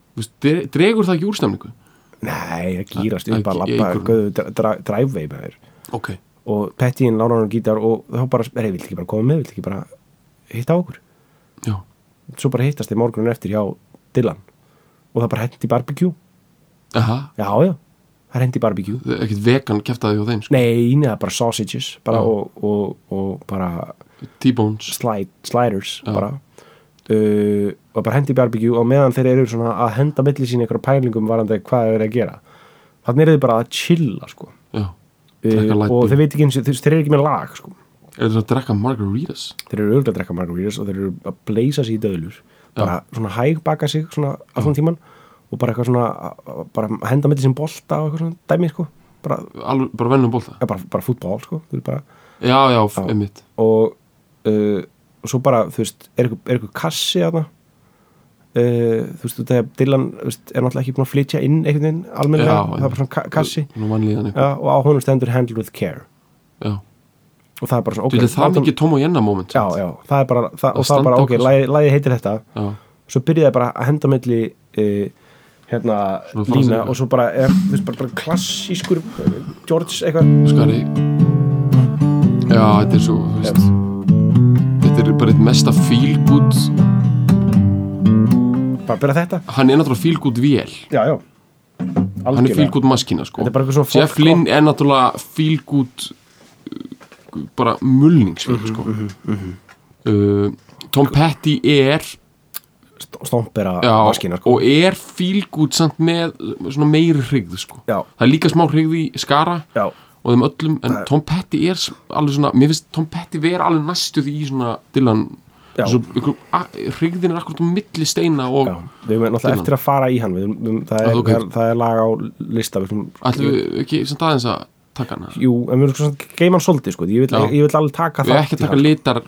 [SPEAKER 3] Þú veist, dre- dregur það ekki úrstemningu
[SPEAKER 2] Nei, það gýrast
[SPEAKER 3] Það-
[SPEAKER 2] upp að
[SPEAKER 3] það-
[SPEAKER 2] labba
[SPEAKER 3] einhvern-
[SPEAKER 2] göðu driveway með þér
[SPEAKER 3] ok,
[SPEAKER 2] og Pettín lána hann gítar og þá bara, er ég vilt ekki bara koma með, vilt ekki bara hitta okkur,
[SPEAKER 3] já,
[SPEAKER 2] svo bara hittast þið morgunum eftir hjá Dylan og það bara hendi barbecue,
[SPEAKER 3] aha
[SPEAKER 2] já já það hendi barbecue,
[SPEAKER 3] það er ekkert vegan keftaði hjá þeim, sko.
[SPEAKER 2] nei, neða bara sausages bara
[SPEAKER 3] Já.
[SPEAKER 2] og, og, og bara
[SPEAKER 3] T-bones
[SPEAKER 2] slide, sliders
[SPEAKER 3] Já.
[SPEAKER 2] bara uh, og bara hendi barbecue og meðan þeir eru svona að henda milli sín einhverja pælingum varandi hvað þeir eru að gera þannig eru þið bara að chilla sko
[SPEAKER 3] já,
[SPEAKER 2] uh,
[SPEAKER 3] drekka light
[SPEAKER 2] og
[SPEAKER 3] beer.
[SPEAKER 2] þeir veit ekki eins og þeir, þeir eru ekki með lag sko.
[SPEAKER 3] er þetta að drekka margaritas
[SPEAKER 2] þeir eru auðvitað að drekka margaritas og þeir eru að bleysa sér í döðlur bara svona hægbaka sig svona allan tíman og bara eitthvað svona a- a- bara henda með þessum bolta og eitthvað svona dæmi sko bara,
[SPEAKER 3] alveg, bara vennum bólta
[SPEAKER 2] eða bara, bara fútból sko þeir eru bara,
[SPEAKER 3] já, já, f- einmitt
[SPEAKER 2] og, uh, og svo bara þú veist, er eitthvað, er eitthvað kassi þarna Uh, þú veist, þegar Dylan þú veist, er náttúrulega ekki búin að flytja inn einhvern veginn almennilega,
[SPEAKER 3] Já,
[SPEAKER 2] það er bara svona ka kassi
[SPEAKER 3] nú vann líðan eitthvað,
[SPEAKER 2] ja, og á honum stendur handle with care
[SPEAKER 3] já
[SPEAKER 2] og það er bara svona
[SPEAKER 3] Þú
[SPEAKER 2] ok,
[SPEAKER 3] veist, það er
[SPEAKER 2] látum-
[SPEAKER 3] mikið Tom og Jenna moment
[SPEAKER 2] já, já, það er bara það, og
[SPEAKER 3] Að
[SPEAKER 2] það er bara,
[SPEAKER 3] standa
[SPEAKER 2] ok,
[SPEAKER 3] okkur.
[SPEAKER 2] lagið lagið heitir þetta
[SPEAKER 3] já,
[SPEAKER 2] svo byrjaði bara að henda á milli uh, hérna,
[SPEAKER 3] Svona frasar
[SPEAKER 2] lína
[SPEAKER 3] eitthvað.
[SPEAKER 2] og svo bara, er, þú veist, bara, bara klassískur eh, George eitthvað
[SPEAKER 3] skari já, þetta er svo, þú veist þetta er bara eitt mesta feel good
[SPEAKER 2] bara byrja þetta,
[SPEAKER 3] hann er náttúrulega feel good vél
[SPEAKER 2] já, já
[SPEAKER 3] hann er feel
[SPEAKER 2] algjörlega,
[SPEAKER 3] good maskína, sko
[SPEAKER 2] Þetta er bara eitthvað svona
[SPEAKER 3] Jeff
[SPEAKER 2] fólk-
[SPEAKER 3] Lynn er náttúrulega feel good uh, bara mulningsvél,
[SPEAKER 2] Mhm,
[SPEAKER 3] sko uh, Tom Petty er
[SPEAKER 2] St- stómpera
[SPEAKER 3] já,
[SPEAKER 2] maskina, sko
[SPEAKER 3] og er feel good samt með svona meiri hrigð, sko
[SPEAKER 2] Já.
[SPEAKER 3] það er líka smá hrigð í skara
[SPEAKER 2] já,
[SPEAKER 3] og þeim öllum, en Tom Petty er s- alveg svona, mér finnst Tom Petty vera alveg næstu því í svona Dylan
[SPEAKER 2] Já.
[SPEAKER 3] svo, ykkur, a, hryggðin er akkurat á milli steina og
[SPEAKER 2] já við erum náttúrulega
[SPEAKER 3] Dylan.
[SPEAKER 2] eftir að fara í hann við, erum- við, erum- það, er,
[SPEAKER 3] Ah, ok.
[SPEAKER 2] það, er, það er lag á lista við,
[SPEAKER 3] ætlum
[SPEAKER 2] við,
[SPEAKER 3] við ekki samt aðeins að taka hana
[SPEAKER 2] jú, en við erum svona geima hann svolítið, sko ég vil,
[SPEAKER 3] Já.
[SPEAKER 2] ég vil alveg taka
[SPEAKER 3] við
[SPEAKER 2] það
[SPEAKER 3] erum ekki að taka litar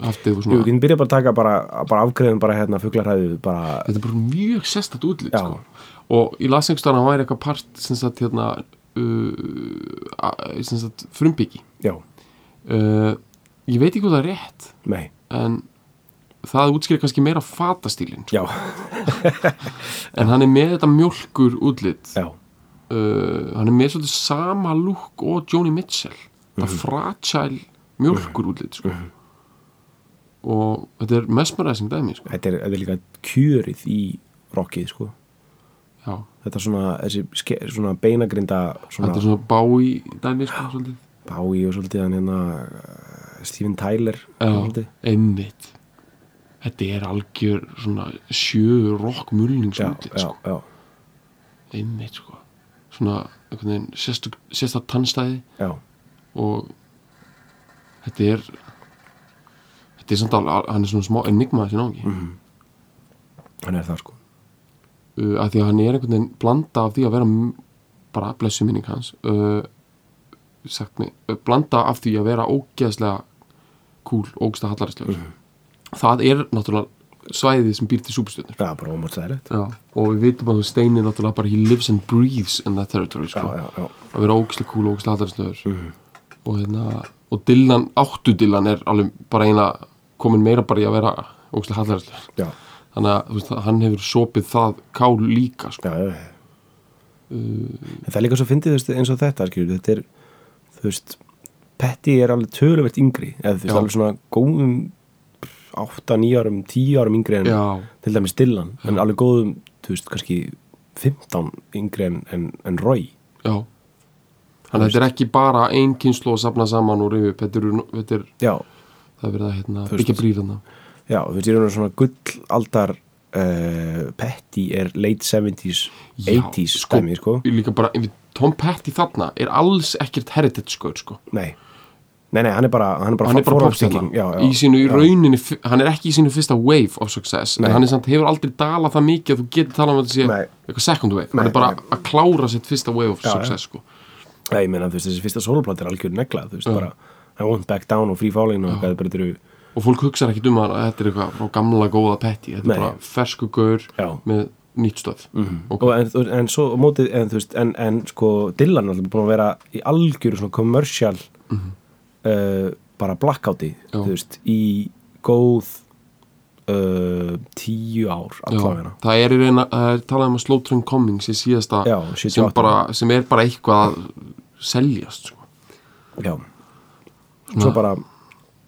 [SPEAKER 3] haftið
[SPEAKER 2] sko. jú, við
[SPEAKER 3] og svona
[SPEAKER 2] getum byrjað bara að taka bara, bara afgreðum bara hérna fuglarhæðu bara,
[SPEAKER 3] þetta er bara mjög sérstætt útlýtt
[SPEAKER 2] Já.
[SPEAKER 3] sko. og í lasengstana væri eitthvað part sem sagt hérna uh, a- sem sagt frumbyggi
[SPEAKER 2] já,
[SPEAKER 3] uh, ég veit ekki hvað það er rétt
[SPEAKER 2] nei
[SPEAKER 3] en það útskýrir kannski meira fatastílin
[SPEAKER 2] já,
[SPEAKER 3] en hann er með þetta mjölkur útlit
[SPEAKER 2] já,
[SPEAKER 3] uh, hann er með svolítið sama lúk og Joni Mitchell það
[SPEAKER 2] Mhm.
[SPEAKER 3] fragile mjölkur útlit sko. og þetta er mesmerizing dæmi sko.
[SPEAKER 2] þetta er, þetta er líka kjörið í rockið, sko
[SPEAKER 3] Já,
[SPEAKER 2] þetta er svona, þessi ske, svona beinagrinda svona
[SPEAKER 3] þetta er svona bá í dæmi sko, svolítið.
[SPEAKER 2] Bowie og svolítið hann hérna uh, Steven Tyler
[SPEAKER 3] Já,
[SPEAKER 2] svolítið.
[SPEAKER 3] einmitt þetta er algjör svona sjö rock mulnings
[SPEAKER 2] já,
[SPEAKER 3] útlit
[SPEAKER 2] já,
[SPEAKER 3] sko.
[SPEAKER 2] já,
[SPEAKER 3] einmitt sko. svona einhvern veginn sérstök- sérstakt tannstæði
[SPEAKER 2] já,
[SPEAKER 3] og þetta er þetta er samt alveg, hann er svona smá enigma þessi náðingi mm.
[SPEAKER 2] hann er það sko
[SPEAKER 3] uh, að því að hann er einhvern veginn blanda af því að vera m- bara blessu minning hans uh, sagt mig, uh, blanda af því að vera ógeðslega kúl, ógeðslega hallarislegur það er náttúrulega svæðið sem býr til súpustjörnur
[SPEAKER 2] Já, bara ómótstæðilegt
[SPEAKER 3] Já, og við vitum að þú steinir náttúrulega bara he lives and breathes in that territory
[SPEAKER 2] Já,
[SPEAKER 3] sko.
[SPEAKER 2] já, já,
[SPEAKER 3] að vera ógislega cool og ógislega hattarstöður
[SPEAKER 2] Mhm.
[SPEAKER 3] og hérna og Dylan, áttu Dylan er alveg bara eina komin meira bara í að vera ógislega hattarstöður
[SPEAKER 2] já,
[SPEAKER 3] þannig að þú veist, að hann hefur sopið það kál líka sko.
[SPEAKER 2] já, já.
[SPEAKER 3] Mm.
[SPEAKER 2] En það er líka svo fyndið þú veist, eins og þetta skilur, þetta er þú veist, Petty er alveg töluvert yngri eða þú veist,
[SPEAKER 3] Já.
[SPEAKER 2] alveg svona góðum 8, 9 árum, 10 árum yngri en
[SPEAKER 3] Já.
[SPEAKER 2] til dæmis Dylan en alveg góðum, þú veist, kannski 15 yngri en, en, en Roy
[SPEAKER 3] já þannig að þetta er ekki bara ein kynslu að safna saman og reyfi þetta eru- þetta er
[SPEAKER 2] Já,
[SPEAKER 3] það er verið að hérna,
[SPEAKER 2] Þú veist-
[SPEAKER 3] byggja bríð þarna
[SPEAKER 2] já, þú veist, ég er svona gullaldar uh, Petty er late 70s,
[SPEAKER 3] Já,
[SPEAKER 2] 80s
[SPEAKER 3] sko.
[SPEAKER 2] dæmi, sko
[SPEAKER 3] líka bara, við- Tom Petty þarna er alls ekkert heritage sko, sko.
[SPEAKER 2] Nei, nei, nei, hann er bara hann er bara,
[SPEAKER 3] hann er bara
[SPEAKER 2] forward-thinking. já,
[SPEAKER 3] popstjarna
[SPEAKER 2] já,
[SPEAKER 3] í sínu
[SPEAKER 2] já.
[SPEAKER 3] rauninni, f- hann er ekki í sínu fyrsta wave of success,
[SPEAKER 2] Nei.
[SPEAKER 3] en hann er samt hefur aldrei dalað það mikið að þú getur talað um að þetta sé
[SPEAKER 2] Nei.
[SPEAKER 3] eitthvað second wave,
[SPEAKER 2] Nei,
[SPEAKER 3] hann er bara
[SPEAKER 2] nei.
[SPEAKER 3] að klára sitt fyrsta wave of
[SPEAKER 2] Já,
[SPEAKER 3] success sko.
[SPEAKER 2] Já, ég meina, þú veist, þessi fyrsta soloplata er algjör negla, þú veist,
[SPEAKER 3] Já.
[SPEAKER 2] bara I won't back down og free falling og eitthvað, bara þetta eru
[SPEAKER 3] og fólk hugsar ekki um að þetta er eitthvað frá gamla góða Petty, þetta
[SPEAKER 2] Nei.
[SPEAKER 3] er bara fersku gaur
[SPEAKER 2] Já. Mhm.
[SPEAKER 3] með nýtt stöð mm.
[SPEAKER 2] og en, og- en svo á mótið, en þú veist en, en sko, Dylan er alltaf búin að vera í algjöru svona commercial uh, bara blackouti
[SPEAKER 3] Mhm. Já.
[SPEAKER 2] þú veist, í góð uh, tíu ár allavega,
[SPEAKER 3] það er í reyna, það er talað um að Slow Train Coming sé síðasta
[SPEAKER 2] Já, 78.
[SPEAKER 3] sem, bara, sem er bara eitthvað að seljast sko.
[SPEAKER 2] já svo bara,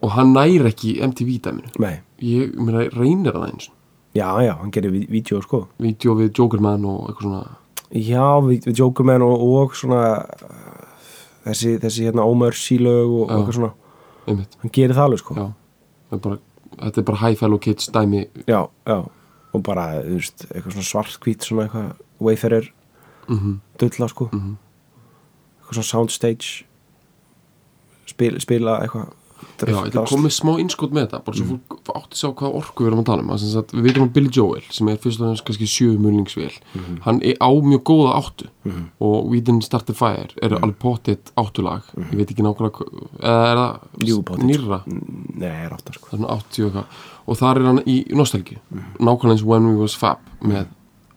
[SPEAKER 3] og hann næri ekki MTV dæminu
[SPEAKER 2] nei,
[SPEAKER 3] ég meina, reynir það eins
[SPEAKER 2] já, já, hann gerir ví- vídeo, sko
[SPEAKER 3] vídeo við Jokerman og eitthvað svona
[SPEAKER 2] Já, við, við jokum með hann og, og svona uh, þessi, þessi hérna ómörsi lög og, og
[SPEAKER 3] Já.
[SPEAKER 2] eitthvað svona,
[SPEAKER 3] einmitt,
[SPEAKER 2] hann gerir það alveg sko
[SPEAKER 3] já Það er bara, þetta er bara High Fellow Kids dæmi
[SPEAKER 2] já, já. og bara, þú veist, eitthvað svona svartkvít svona eitthvað Wayfarer
[SPEAKER 3] mm -hmm.
[SPEAKER 2] dulla sko eitthvað svona soundstage spil, spila eitthvað
[SPEAKER 3] já, þetta er komið smá innskot með þetta bara svo fólk átti sig á hvaða orku við erum að tala um að sem sagt, við veitum að Billy Joel sem er fyrst og nefnst kannski sjöfumulningsvél mm -hmm. hann er á mjög góða áttu og We Didn't Start the Fire er alveg pottitt áttulag ég veit ekki nákvæmlega hvað- eða er það
[SPEAKER 2] Jú, pottitt.
[SPEAKER 3] nýrra
[SPEAKER 2] Nei, er áttar sko
[SPEAKER 3] það er svona 80 og eitthvað og þar er hann í nostalgi nákvæmlega eins og When We Was Fab með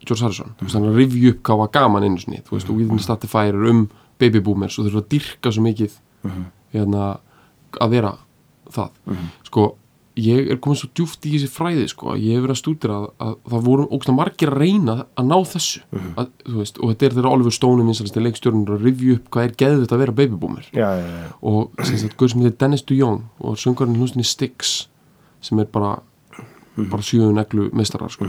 [SPEAKER 3] George Harrison þú veist hann er að rifja upp hvað var gaman einu sinni þú veist og Within Started Fire er um baby boomers og þurfa að dyrka svo mikið hérna að vera það sko ég er komin svo djúft í þessi fræði sko að ég hef verið að stúdira að, að það voru ógstlega margir að reyna að ná þessu að, þú veist, og þetta er þeirra Oliver Stone vinsalasti leikstjórnur að rifja upp hvað er geðið að vera baby boomer
[SPEAKER 2] Já, já, já,
[SPEAKER 3] og sem sagt, guður sem heitir Dennis DeYoung og söngarinn hlustinni Styx sem er bara,
[SPEAKER 2] Mhm.
[SPEAKER 3] bara sjöðun eglu mestarar sko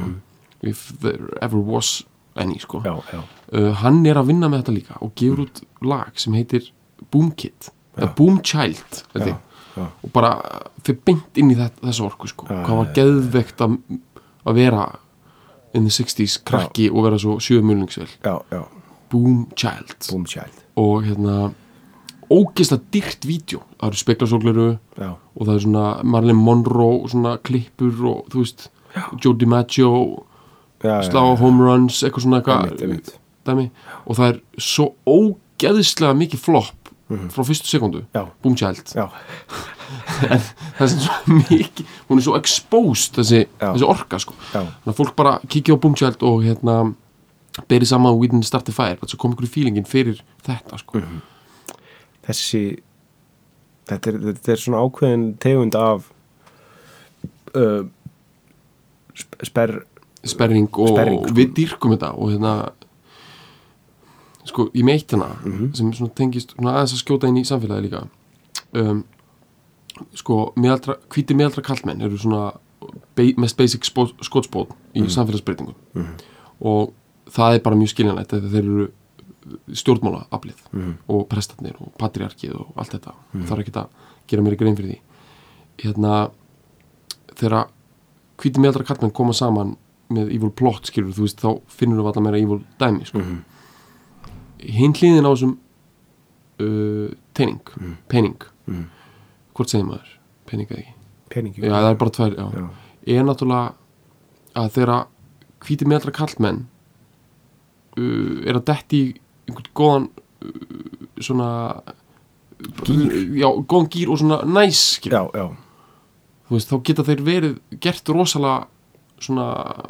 [SPEAKER 3] if there ever was any sko
[SPEAKER 2] já, Mhm. já.
[SPEAKER 3] uh, hann er að vinna með þetta líka og gefur út lag sem heitir Boom Kid eða Boom Child þetta,
[SPEAKER 2] Já, já.
[SPEAKER 3] og bara fyrir beint inn í þetta, þessa orku sko,
[SPEAKER 2] Já,
[SPEAKER 3] hvað var geðvegt að, að vera in the 60s krakki og vera svo sjöðumulningsvel
[SPEAKER 2] já, já.
[SPEAKER 3] Boom Child
[SPEAKER 2] Boom Child
[SPEAKER 3] og hérna ógeðslega dyrkt vídeo það eru speklasógleru
[SPEAKER 2] já.
[SPEAKER 3] og það er svona Marilyn Monroe og svona klippur og þú veist Joe DiMaggio
[SPEAKER 2] Já,
[SPEAKER 3] slá á home runs eitthvað svona
[SPEAKER 2] Einmitt, einmitt.
[SPEAKER 3] eitthvað dæmi. og það er svo ógeðslega mikið flopp frá fyrstu sekundu
[SPEAKER 2] Mhm. Já.
[SPEAKER 3] Boom Child [laughs]
[SPEAKER 2] já,
[SPEAKER 3] það er sem svo mikið hún er svo exposed þessi,
[SPEAKER 2] Já.
[SPEAKER 3] þessi orka sko.
[SPEAKER 2] Já.
[SPEAKER 3] þannig að fólk bara kikið á Boom Child og hérna berið saman We Didn't Start the Fire þannig að kom ykkur í feelingin fyrir þetta sko.
[SPEAKER 2] Mhm. þessi þetta er, þetta er svona ákveðin tegund af uh, sp- sperr
[SPEAKER 3] sperring og
[SPEAKER 2] Sperring, sko.
[SPEAKER 3] við dýrkum þetta og hérna sko, ég meitt hana
[SPEAKER 2] Mhm.
[SPEAKER 3] sem svona tengist svona aðeins að skjóta inn í samfélagi líka um, sko, meðaldra, hvítir meðaldra kallmenn eru svona be, mest basic spó- skotspót í
[SPEAKER 2] Mhm.
[SPEAKER 3] samfélagsbreytingum og það er bara mjög skiljanlegt þegar þeir eru stjórnmála aflið
[SPEAKER 2] Mhm.
[SPEAKER 3] og prestatnir og patriarkið og allt þetta mm -hmm. þarf ekki að gera mér í grein fyrir því hérna þegar hvíti meðaldra kallmenn koma saman með evil plot skilur, þú veist, þá finnur við alltaf meira evil dæmi, sko hinn hlýðin á þessum uh, teining, pening hvort segir maður, pening eða ekki
[SPEAKER 2] peningi
[SPEAKER 3] já, það er bara tvær, já,
[SPEAKER 2] Já.
[SPEAKER 3] er náttúrulega að þegar hvíti meðaldra kallmenn uh, er að detti í einhvern góðan uh, svona gýr. já, góðan gýr og svona næs, skilur
[SPEAKER 2] já, já,
[SPEAKER 3] þú veist, þá geta þeir verið gert rosalega svona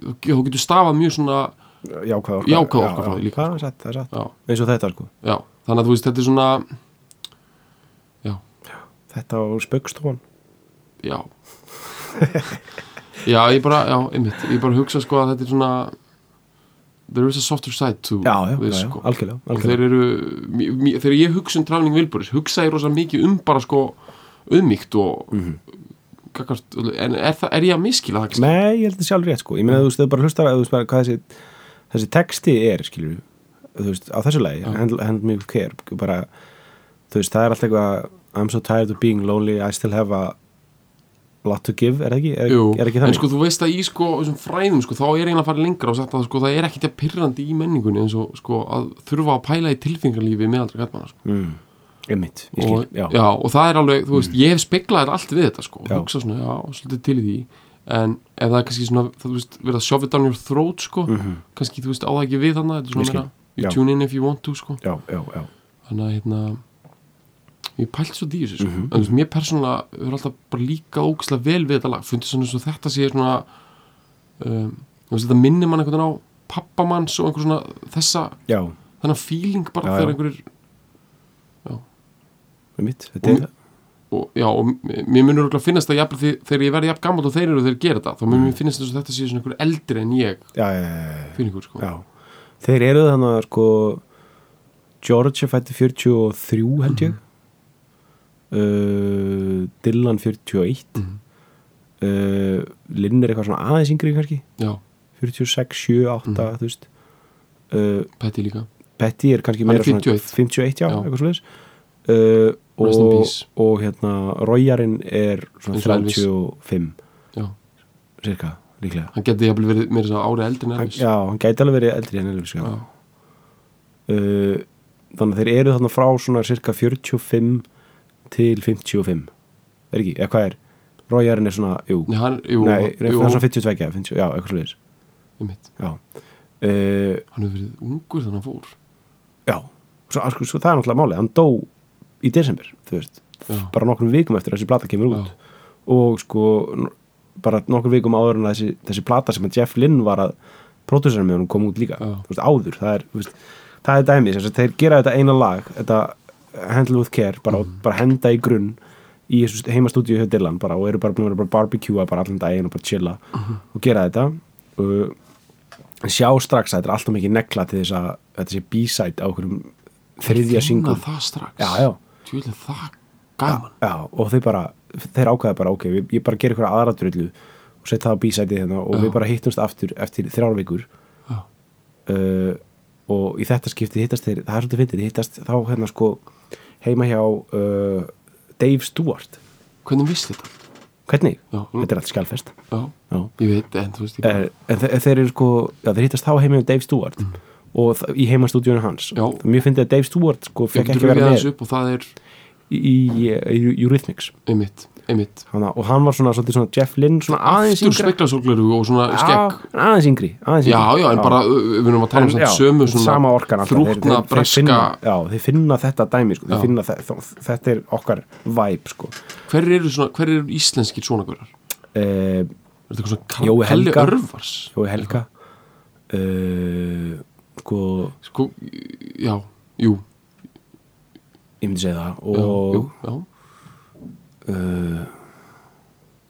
[SPEAKER 3] þá getur stafað mjög svona
[SPEAKER 2] jákvæð orka
[SPEAKER 3] Jákvæð orka frá því líka, sko.
[SPEAKER 2] það er satt, það er satt
[SPEAKER 3] já,
[SPEAKER 2] eins og þetta sko,
[SPEAKER 3] já, þannig að þú veist þetta er svona já,
[SPEAKER 2] þetta var spöggstofan
[SPEAKER 3] Mm.
[SPEAKER 2] [laughs]
[SPEAKER 3] já já, ég bara, já, einmitt ég bara hugsa sko að þetta er svona there is a softer side to
[SPEAKER 2] já, já, já,
[SPEAKER 3] this
[SPEAKER 2] já,
[SPEAKER 3] sko
[SPEAKER 2] algjörlega,
[SPEAKER 3] og
[SPEAKER 2] algjörlega.
[SPEAKER 3] þeir eru mj- mj- þegar ég hugsa um trafning Vilburis hugsa ég rosa mikið um bara sko auðmíkt og
[SPEAKER 2] Mhm.
[SPEAKER 3] kakart, en er, það, er ég að miskila það kannski?
[SPEAKER 2] Nei, ég held það sjálf rétt sko Ég meina
[SPEAKER 3] Mm.
[SPEAKER 2] þú veist, þau bara hlustar að þú veist bara hvað þessi, þessi texti er, skilur þú veist, á þessu lagi, hand, hand me care bara, þú veist, það er alltaf eitthvað I'm so tired of being lonely, I still have a lot to give, er það ekki? Er,
[SPEAKER 3] Jú,
[SPEAKER 2] er ekki
[SPEAKER 3] en
[SPEAKER 2] þannig?
[SPEAKER 3] sko þú veist að í sko þessum fræðum sko þá er eiginlega að fara lengra og sagt að sko það er ekkit að pyrrandi í menningunni eins og sko að þurfa að pæla í tilfingarlífi með aldrei gætmanna sko.
[SPEAKER 2] mm, Einmitt, ég skil,
[SPEAKER 3] og,
[SPEAKER 2] já, Mm.
[SPEAKER 3] já, og það er alveg, þú veist, ég hef speklað þér allt við þetta sko,
[SPEAKER 2] Já.
[SPEAKER 3] hugsa svona, já, svolítið til í því en ef það er kannski svona, þú veist, verið að shove it down your throat sko, kannski, þú veist, á það ekki við þannig, þetta er
[SPEAKER 2] Ég
[SPEAKER 3] svona
[SPEAKER 2] Mhm. skil.
[SPEAKER 3] meira you
[SPEAKER 2] Já.
[SPEAKER 3] tune in if you want to sko,
[SPEAKER 2] já, já, já.
[SPEAKER 3] þannig að hérna ég pælt svo dýr þessu sko,
[SPEAKER 2] Mhm.
[SPEAKER 3] en þú veist, mér persónulega hefur alltaf bara líkað ógislega vel við þetta lag, fundið svona svo þetta sé svona um, þú veist, þetta minnir mann einhvern veginn á pappamanns og einhver svona þessa,
[SPEAKER 2] Já,
[SPEAKER 3] þennan feeling bara
[SPEAKER 2] Já,
[SPEAKER 3] þegar
[SPEAKER 2] já.
[SPEAKER 3] einhverjir
[SPEAKER 2] einmitt, þetta er
[SPEAKER 3] Og- og, já, og m- mér munur okkur að finnast það jafnvel því- þegar ég verði jafn gammal og þeir eru þeir gera þetta þá
[SPEAKER 2] Mhm.
[SPEAKER 3] munur mér finnast þess að þetta sé svona einhver eldri en ég
[SPEAKER 2] Já, já, já,
[SPEAKER 3] fyrir ykkur sko
[SPEAKER 2] já, já. Þeir eru þannig að sko George er fætti 43 held
[SPEAKER 3] Mhm.
[SPEAKER 2] ég uh, Dylan 41
[SPEAKER 3] Mhm.
[SPEAKER 2] uh, Linn er eitthvað svona aðeins yngri kannski
[SPEAKER 3] já
[SPEAKER 2] 46, 7, 8
[SPEAKER 3] Mhm.
[SPEAKER 2] þú veist uh,
[SPEAKER 3] Petty líka
[SPEAKER 2] Betty er kannski
[SPEAKER 3] Hann er
[SPEAKER 2] meira svona
[SPEAKER 3] 51.
[SPEAKER 2] 51 já,
[SPEAKER 3] Já.
[SPEAKER 2] eitthvað svoleiðis uh,
[SPEAKER 3] Rest in
[SPEAKER 2] og,
[SPEAKER 3] peace.
[SPEAKER 2] og hérna Rójarinn er svona
[SPEAKER 3] Eins og Elvis.
[SPEAKER 2] 35
[SPEAKER 3] já
[SPEAKER 2] cirka, líklega
[SPEAKER 3] hann geti jafnvel verið meira svo ári eldri en
[SPEAKER 2] hann,
[SPEAKER 3] Elvis
[SPEAKER 2] já, hann gæti alveg verið eldri en Elvis já.
[SPEAKER 3] já,
[SPEAKER 2] Uh, þannig að þeir eru þarna frá svona cirka 45 til 55 er ekki, eða hvað er Rójarinn er svona, jú
[SPEAKER 3] Nei, hann, jú,
[SPEAKER 2] Nei, það er
[SPEAKER 3] jú,
[SPEAKER 2] svona 52, 50, já, eitthvað sliðis
[SPEAKER 3] einmitt.
[SPEAKER 2] Já, uh,
[SPEAKER 3] hann hefur verið ungur þannig að hann fór
[SPEAKER 2] já. Svo, sko, svo, það er náttúrulega málið, hann dó í desember, þú veist
[SPEAKER 3] Já.
[SPEAKER 2] bara nokkrum vikum eftir að þessi plata kemur út
[SPEAKER 3] Já.
[SPEAKER 2] og sko n- bara nokkrum vikum áður en að þessi, þessi plata sem að Jeff Lynn var að pródusera með honum kom út líka,
[SPEAKER 3] Já.
[SPEAKER 2] þú veist, áður það er, þú veist, það er dæmis, þess að þeir gera þetta eina lag, þetta Handle with Care, bara,
[SPEAKER 3] Mhm.
[SPEAKER 2] bara henda í grunn í þessu heimastúdíu hjá Dylan bara, og eru bara búin að vera bara barbecue bara allan daginn og bara chilla
[SPEAKER 3] Mhm.
[SPEAKER 2] og gera þetta og sjá strax að þetta er alltaf mikið negla til þess að þetta sé b-side á okkurum þriðja
[SPEAKER 3] Finna
[SPEAKER 2] singul
[SPEAKER 3] það strax
[SPEAKER 2] um. Já, já.
[SPEAKER 3] Tjúlega, það gaman
[SPEAKER 2] já, og þeir bara, þeir ákvæða bara ok, við, ég bara ger ykkur aðra drullu og set það á b-side hérna og
[SPEAKER 3] Já.
[SPEAKER 2] við bara hittumst aftur eftir þrjár vikur
[SPEAKER 3] já,
[SPEAKER 2] uh, og í þetta skipti hittast þeir, það er svolítið fyndið, þeir hittast þá hérna sko heima hjá uh, Dave Stewart
[SPEAKER 3] hvernig vissi þetta
[SPEAKER 2] hvernig?
[SPEAKER 3] Já.
[SPEAKER 2] Þetta er allt skjálfest
[SPEAKER 3] já,
[SPEAKER 2] já.
[SPEAKER 3] ég veit, en þú veist ég
[SPEAKER 2] Eh, en þe þeir eru sko, já þeir hittast þá heima hjá Dave Stewart og þa- í heimastúdíunum hans
[SPEAKER 3] Mm. Já.
[SPEAKER 2] það er mjög fyndið að Dave Stewart sko
[SPEAKER 3] ég
[SPEAKER 2] fekk
[SPEAKER 3] getur
[SPEAKER 2] ekki
[SPEAKER 3] við
[SPEAKER 2] vera með
[SPEAKER 3] aðeins upp og það er
[SPEAKER 2] í, í, í Eurythmics
[SPEAKER 3] einmitt, einmitt
[SPEAKER 2] Hanna, og hann var svona, svolítið svona Jeff Lynn svona aðeins
[SPEAKER 3] aftur
[SPEAKER 2] yngri
[SPEAKER 3] speklasólgleru og svona skegg
[SPEAKER 2] Já, en aðeins yngri, aðeins yngri.
[SPEAKER 3] Já, já, en bara uh, við erum að tala um
[SPEAKER 2] En,
[SPEAKER 3] svona
[SPEAKER 2] já,
[SPEAKER 3] sömu svona
[SPEAKER 2] sama orkan alltaf. Þeir-
[SPEAKER 3] þrútna
[SPEAKER 2] þeir- þeir
[SPEAKER 3] breska
[SPEAKER 2] finna- já, þeir finna þetta dæmi sko. þeir
[SPEAKER 3] Já.
[SPEAKER 2] finna þe þó- þetta er okkar vibe sko.
[SPEAKER 3] Hver eru svona, hver eru íslenskir svona gurar?
[SPEAKER 2] uh,
[SPEAKER 3] Er þetta eitthvað svona Kal-
[SPEAKER 2] Jói
[SPEAKER 3] Kalli
[SPEAKER 2] Helga.
[SPEAKER 3] Örvars?
[SPEAKER 2] Jói Helga uh, sko
[SPEAKER 3] Sko, já, jú,
[SPEAKER 2] ég myndi segja það
[SPEAKER 3] já, jú,
[SPEAKER 2] og
[SPEAKER 3] já
[SPEAKER 2] uh,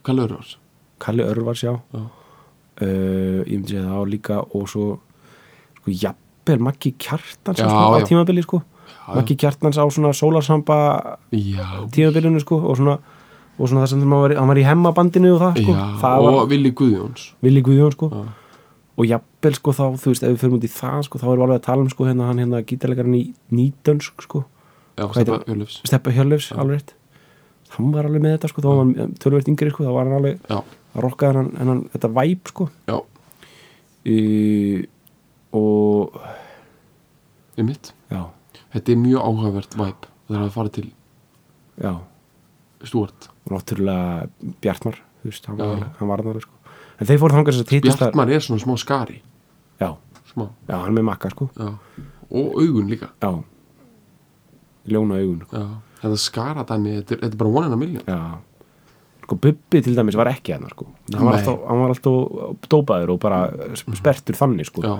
[SPEAKER 3] Kalli Örvars,
[SPEAKER 2] Kalli Örvars já
[SPEAKER 3] já,
[SPEAKER 2] uh, ég myndi segja það og líka og svo sko jafnvel Maggi Kjartans
[SPEAKER 3] Já,
[SPEAKER 2] sko, á
[SPEAKER 3] já.
[SPEAKER 2] tímabili sko
[SPEAKER 3] já.
[SPEAKER 2] Maggi Kjartans á svona sólarsamba
[SPEAKER 3] já,
[SPEAKER 2] tímabilinu sko og svona, og svona það sem hann var, hann var í hemmabandinu og það sko
[SPEAKER 3] já
[SPEAKER 2] það
[SPEAKER 3] og
[SPEAKER 2] var
[SPEAKER 3] Vili Guðjóns
[SPEAKER 2] Vili Guðjón sko
[SPEAKER 3] Já.
[SPEAKER 2] og jafnvel sko þá þú veist ef við fyrir út í það sko þá erum við alveg að tala um sko hérna hann hérna gítarleikarinn í nýtönsk sko
[SPEAKER 3] Já,
[SPEAKER 2] Hvað heitir
[SPEAKER 3] Steppa
[SPEAKER 2] hann?
[SPEAKER 3] Jörlefs
[SPEAKER 2] Steppa Hjörlefs alveg rétt hann var alveg með þetta sko þá var hann tölvöld yngri sko þá var hann alveg
[SPEAKER 3] Já,
[SPEAKER 2] að rokkaði hann, hann þetta væp sko
[SPEAKER 3] já,
[SPEAKER 2] í, og
[SPEAKER 3] ég mitt
[SPEAKER 2] já,
[SPEAKER 3] Þetta er mjög áhugavert væp þegar það farið til
[SPEAKER 2] já
[SPEAKER 3] Stuart
[SPEAKER 2] og náttúrulega Bjartmar þú veist, hann,
[SPEAKER 3] Já.
[SPEAKER 2] var, hann var þannig sko. en þeir fóru þangað sem að hittast þar-
[SPEAKER 3] Bjartmar er svona smá skari,
[SPEAKER 2] já,
[SPEAKER 3] smá,
[SPEAKER 2] já, hann er með makka sko
[SPEAKER 3] já Og augun líka,
[SPEAKER 2] já, ljóna augun
[SPEAKER 3] já Þetta skara dæmi, þetta er, þetta er bara one in a million
[SPEAKER 2] já, sko Bubbi til dæmis var ekki hann sko. hann, var
[SPEAKER 3] Nei. Mm.
[SPEAKER 2] alltaf, hann var alltaf dópaður og bara spertur þannig sko.
[SPEAKER 3] já,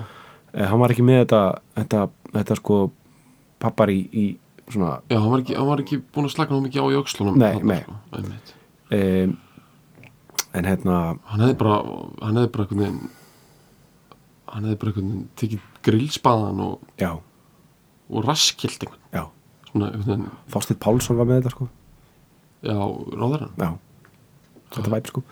[SPEAKER 2] Eh, hann var ekki með þetta þetta, þetta sko pappar í, í svona
[SPEAKER 3] já hann, var ekki, hann var ekki búin að slaka nú mikið á í öxlunum
[SPEAKER 2] Nei,
[SPEAKER 3] þarna,
[SPEAKER 2] nei.
[SPEAKER 3] sko, einmitt.
[SPEAKER 2] um, en hérna
[SPEAKER 3] hann hefði bara hann hefði bara einhvern veginn hann hefði bara einhvern veginn tekið grillspaðan og,
[SPEAKER 2] já,
[SPEAKER 3] og raskilt einhvern
[SPEAKER 2] já,
[SPEAKER 3] svona einhvern veginn,
[SPEAKER 2] Þorsteinn Pálsson var með þetta sko
[SPEAKER 3] já, ráðar hann
[SPEAKER 2] já, þetta væp sko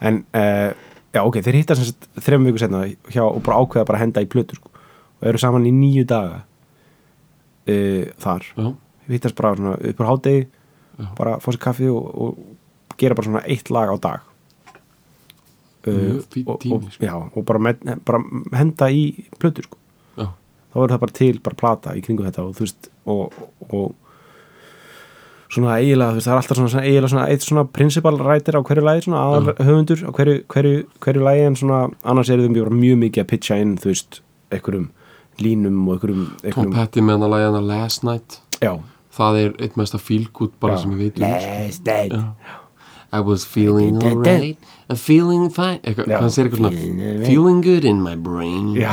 [SPEAKER 2] en, uh, já ok, þeir hitta sem sagt þrejum viku setna hjá og bara ákveða bara að henda í plötu sko og eru saman í nýju daga uh, þar
[SPEAKER 3] já,
[SPEAKER 2] við hittast bara svona upp á hádegi
[SPEAKER 3] Já.
[SPEAKER 2] bara fá sér kaffi og, og gera bara svona eitt lag á dag
[SPEAKER 3] Mjög
[SPEAKER 2] Eh,
[SPEAKER 3] fínn
[SPEAKER 2] og,
[SPEAKER 3] tími,
[SPEAKER 2] og,
[SPEAKER 3] sko.
[SPEAKER 2] já, og bara, með, bara henda í plötu sko
[SPEAKER 3] já,
[SPEAKER 2] þá verður það bara til bara plata í kringu þetta og þú veist og, og svona eiginlega þú veist það er alltaf svona, svona eiginlega svona eitt svona principal writer á hverju lagi svona aðal
[SPEAKER 3] Mm.
[SPEAKER 2] höfundur á hverju, hverju, hverju lagi en svona annars er þeim bara mjög mikið að pitcha inn þú veist einhverjum línum og einhverjum,
[SPEAKER 3] Tom
[SPEAKER 2] einhverjum
[SPEAKER 3] Petty með hann að lægja hann að Last Night
[SPEAKER 2] já,
[SPEAKER 3] það er eitt mesta feel good bara
[SPEAKER 2] Já.
[SPEAKER 3] sem ég veit um, sko.
[SPEAKER 2] last night
[SPEAKER 3] I was feeling alright I'm feeling fine Eitthvað,
[SPEAKER 2] Já.
[SPEAKER 3] hann segir eitthvað
[SPEAKER 2] Feeling
[SPEAKER 3] svona
[SPEAKER 2] alright.
[SPEAKER 3] Feeling good in my brain
[SPEAKER 2] já,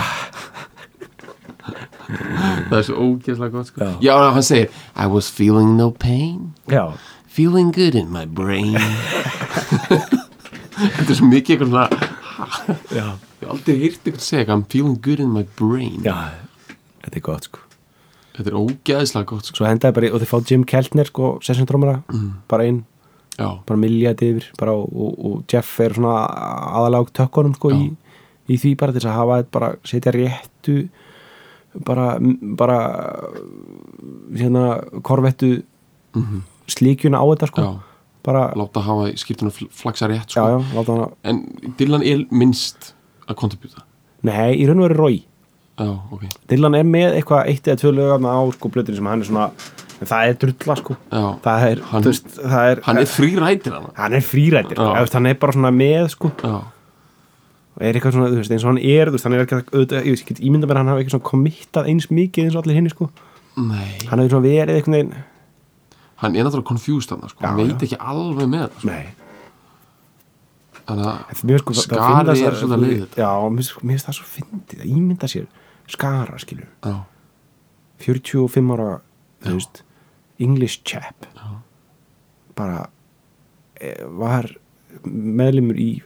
[SPEAKER 3] Það er svo ógeðslega gott sko
[SPEAKER 2] Já.
[SPEAKER 3] Já, já hann segir I was feeling no pain
[SPEAKER 2] já,
[SPEAKER 3] Feeling good in my
[SPEAKER 2] [laughs]
[SPEAKER 3] brain Þetta er svo mikið eitthvað svona
[SPEAKER 2] já,
[SPEAKER 3] Ég hef aldrei hýrt eitthvað segja eitthvað I'm feeling good in my brain
[SPEAKER 2] já þetta er gott sko
[SPEAKER 3] Þetta er ógeðslega gott sko
[SPEAKER 2] svo hendaði bara í- og þið fá Jim Keltner sko session drömmara
[SPEAKER 3] Mm.
[SPEAKER 2] bara inn
[SPEAKER 3] Já,
[SPEAKER 2] bara miljað yfir bara, og, og, og Jeff er svona aðalega á tökkunum sko, í, í því bara til þess að hafa þetta bara setja réttu bara, bara hérna korvettu slíkjuna á þetta sko
[SPEAKER 3] Mhm. já
[SPEAKER 2] bara,
[SPEAKER 3] Láta hafa skýrtuna flagsa rétt
[SPEAKER 2] já,
[SPEAKER 3] sko
[SPEAKER 2] já, láta hana
[SPEAKER 3] En Dylan er minnst að kontribúta
[SPEAKER 2] nei, í raun og veru rói
[SPEAKER 3] Já, ok
[SPEAKER 2] Dylan er með eitthvað eitt eða tvö lögarna á sko blöðinu sem hann er svona en það er drulla sko
[SPEAKER 3] Já.
[SPEAKER 2] það er,
[SPEAKER 3] Hann-
[SPEAKER 2] þú veist, það er,
[SPEAKER 3] Hann er frírætir hann
[SPEAKER 2] hann er frírættir
[SPEAKER 3] Já.
[SPEAKER 2] hann er bara svona með sko
[SPEAKER 3] Já,
[SPEAKER 2] og er eitthvað svona, þú veist, eins og hann er þú veist, hann er ekki, að- auðvitað, ég veist, ég get ímynda mér að hann hafi eitthvað svona kommittað eins mikið eins og allir hinni, sko
[SPEAKER 3] nei
[SPEAKER 2] hann hefur svona verið einhvern veginn
[SPEAKER 3] hann er náttúrulega confused hann sko.
[SPEAKER 2] Já,
[SPEAKER 3] hann veit
[SPEAKER 2] já.
[SPEAKER 3] ekki alveg með það, sko.
[SPEAKER 2] nei,
[SPEAKER 3] þannig að
[SPEAKER 2] mér finnst, sko, það- það
[SPEAKER 3] Skari
[SPEAKER 2] finnast
[SPEAKER 3] er
[SPEAKER 2] að-
[SPEAKER 3] svolítið að leiða þetta.
[SPEAKER 2] já, mér finnst- mér finnst það svo fyndið að ímynda sér skara, skilur,
[SPEAKER 3] já,
[SPEAKER 2] 45 ára þú veist, English chap
[SPEAKER 3] Já.
[SPEAKER 2] bara eh, var meðlimur í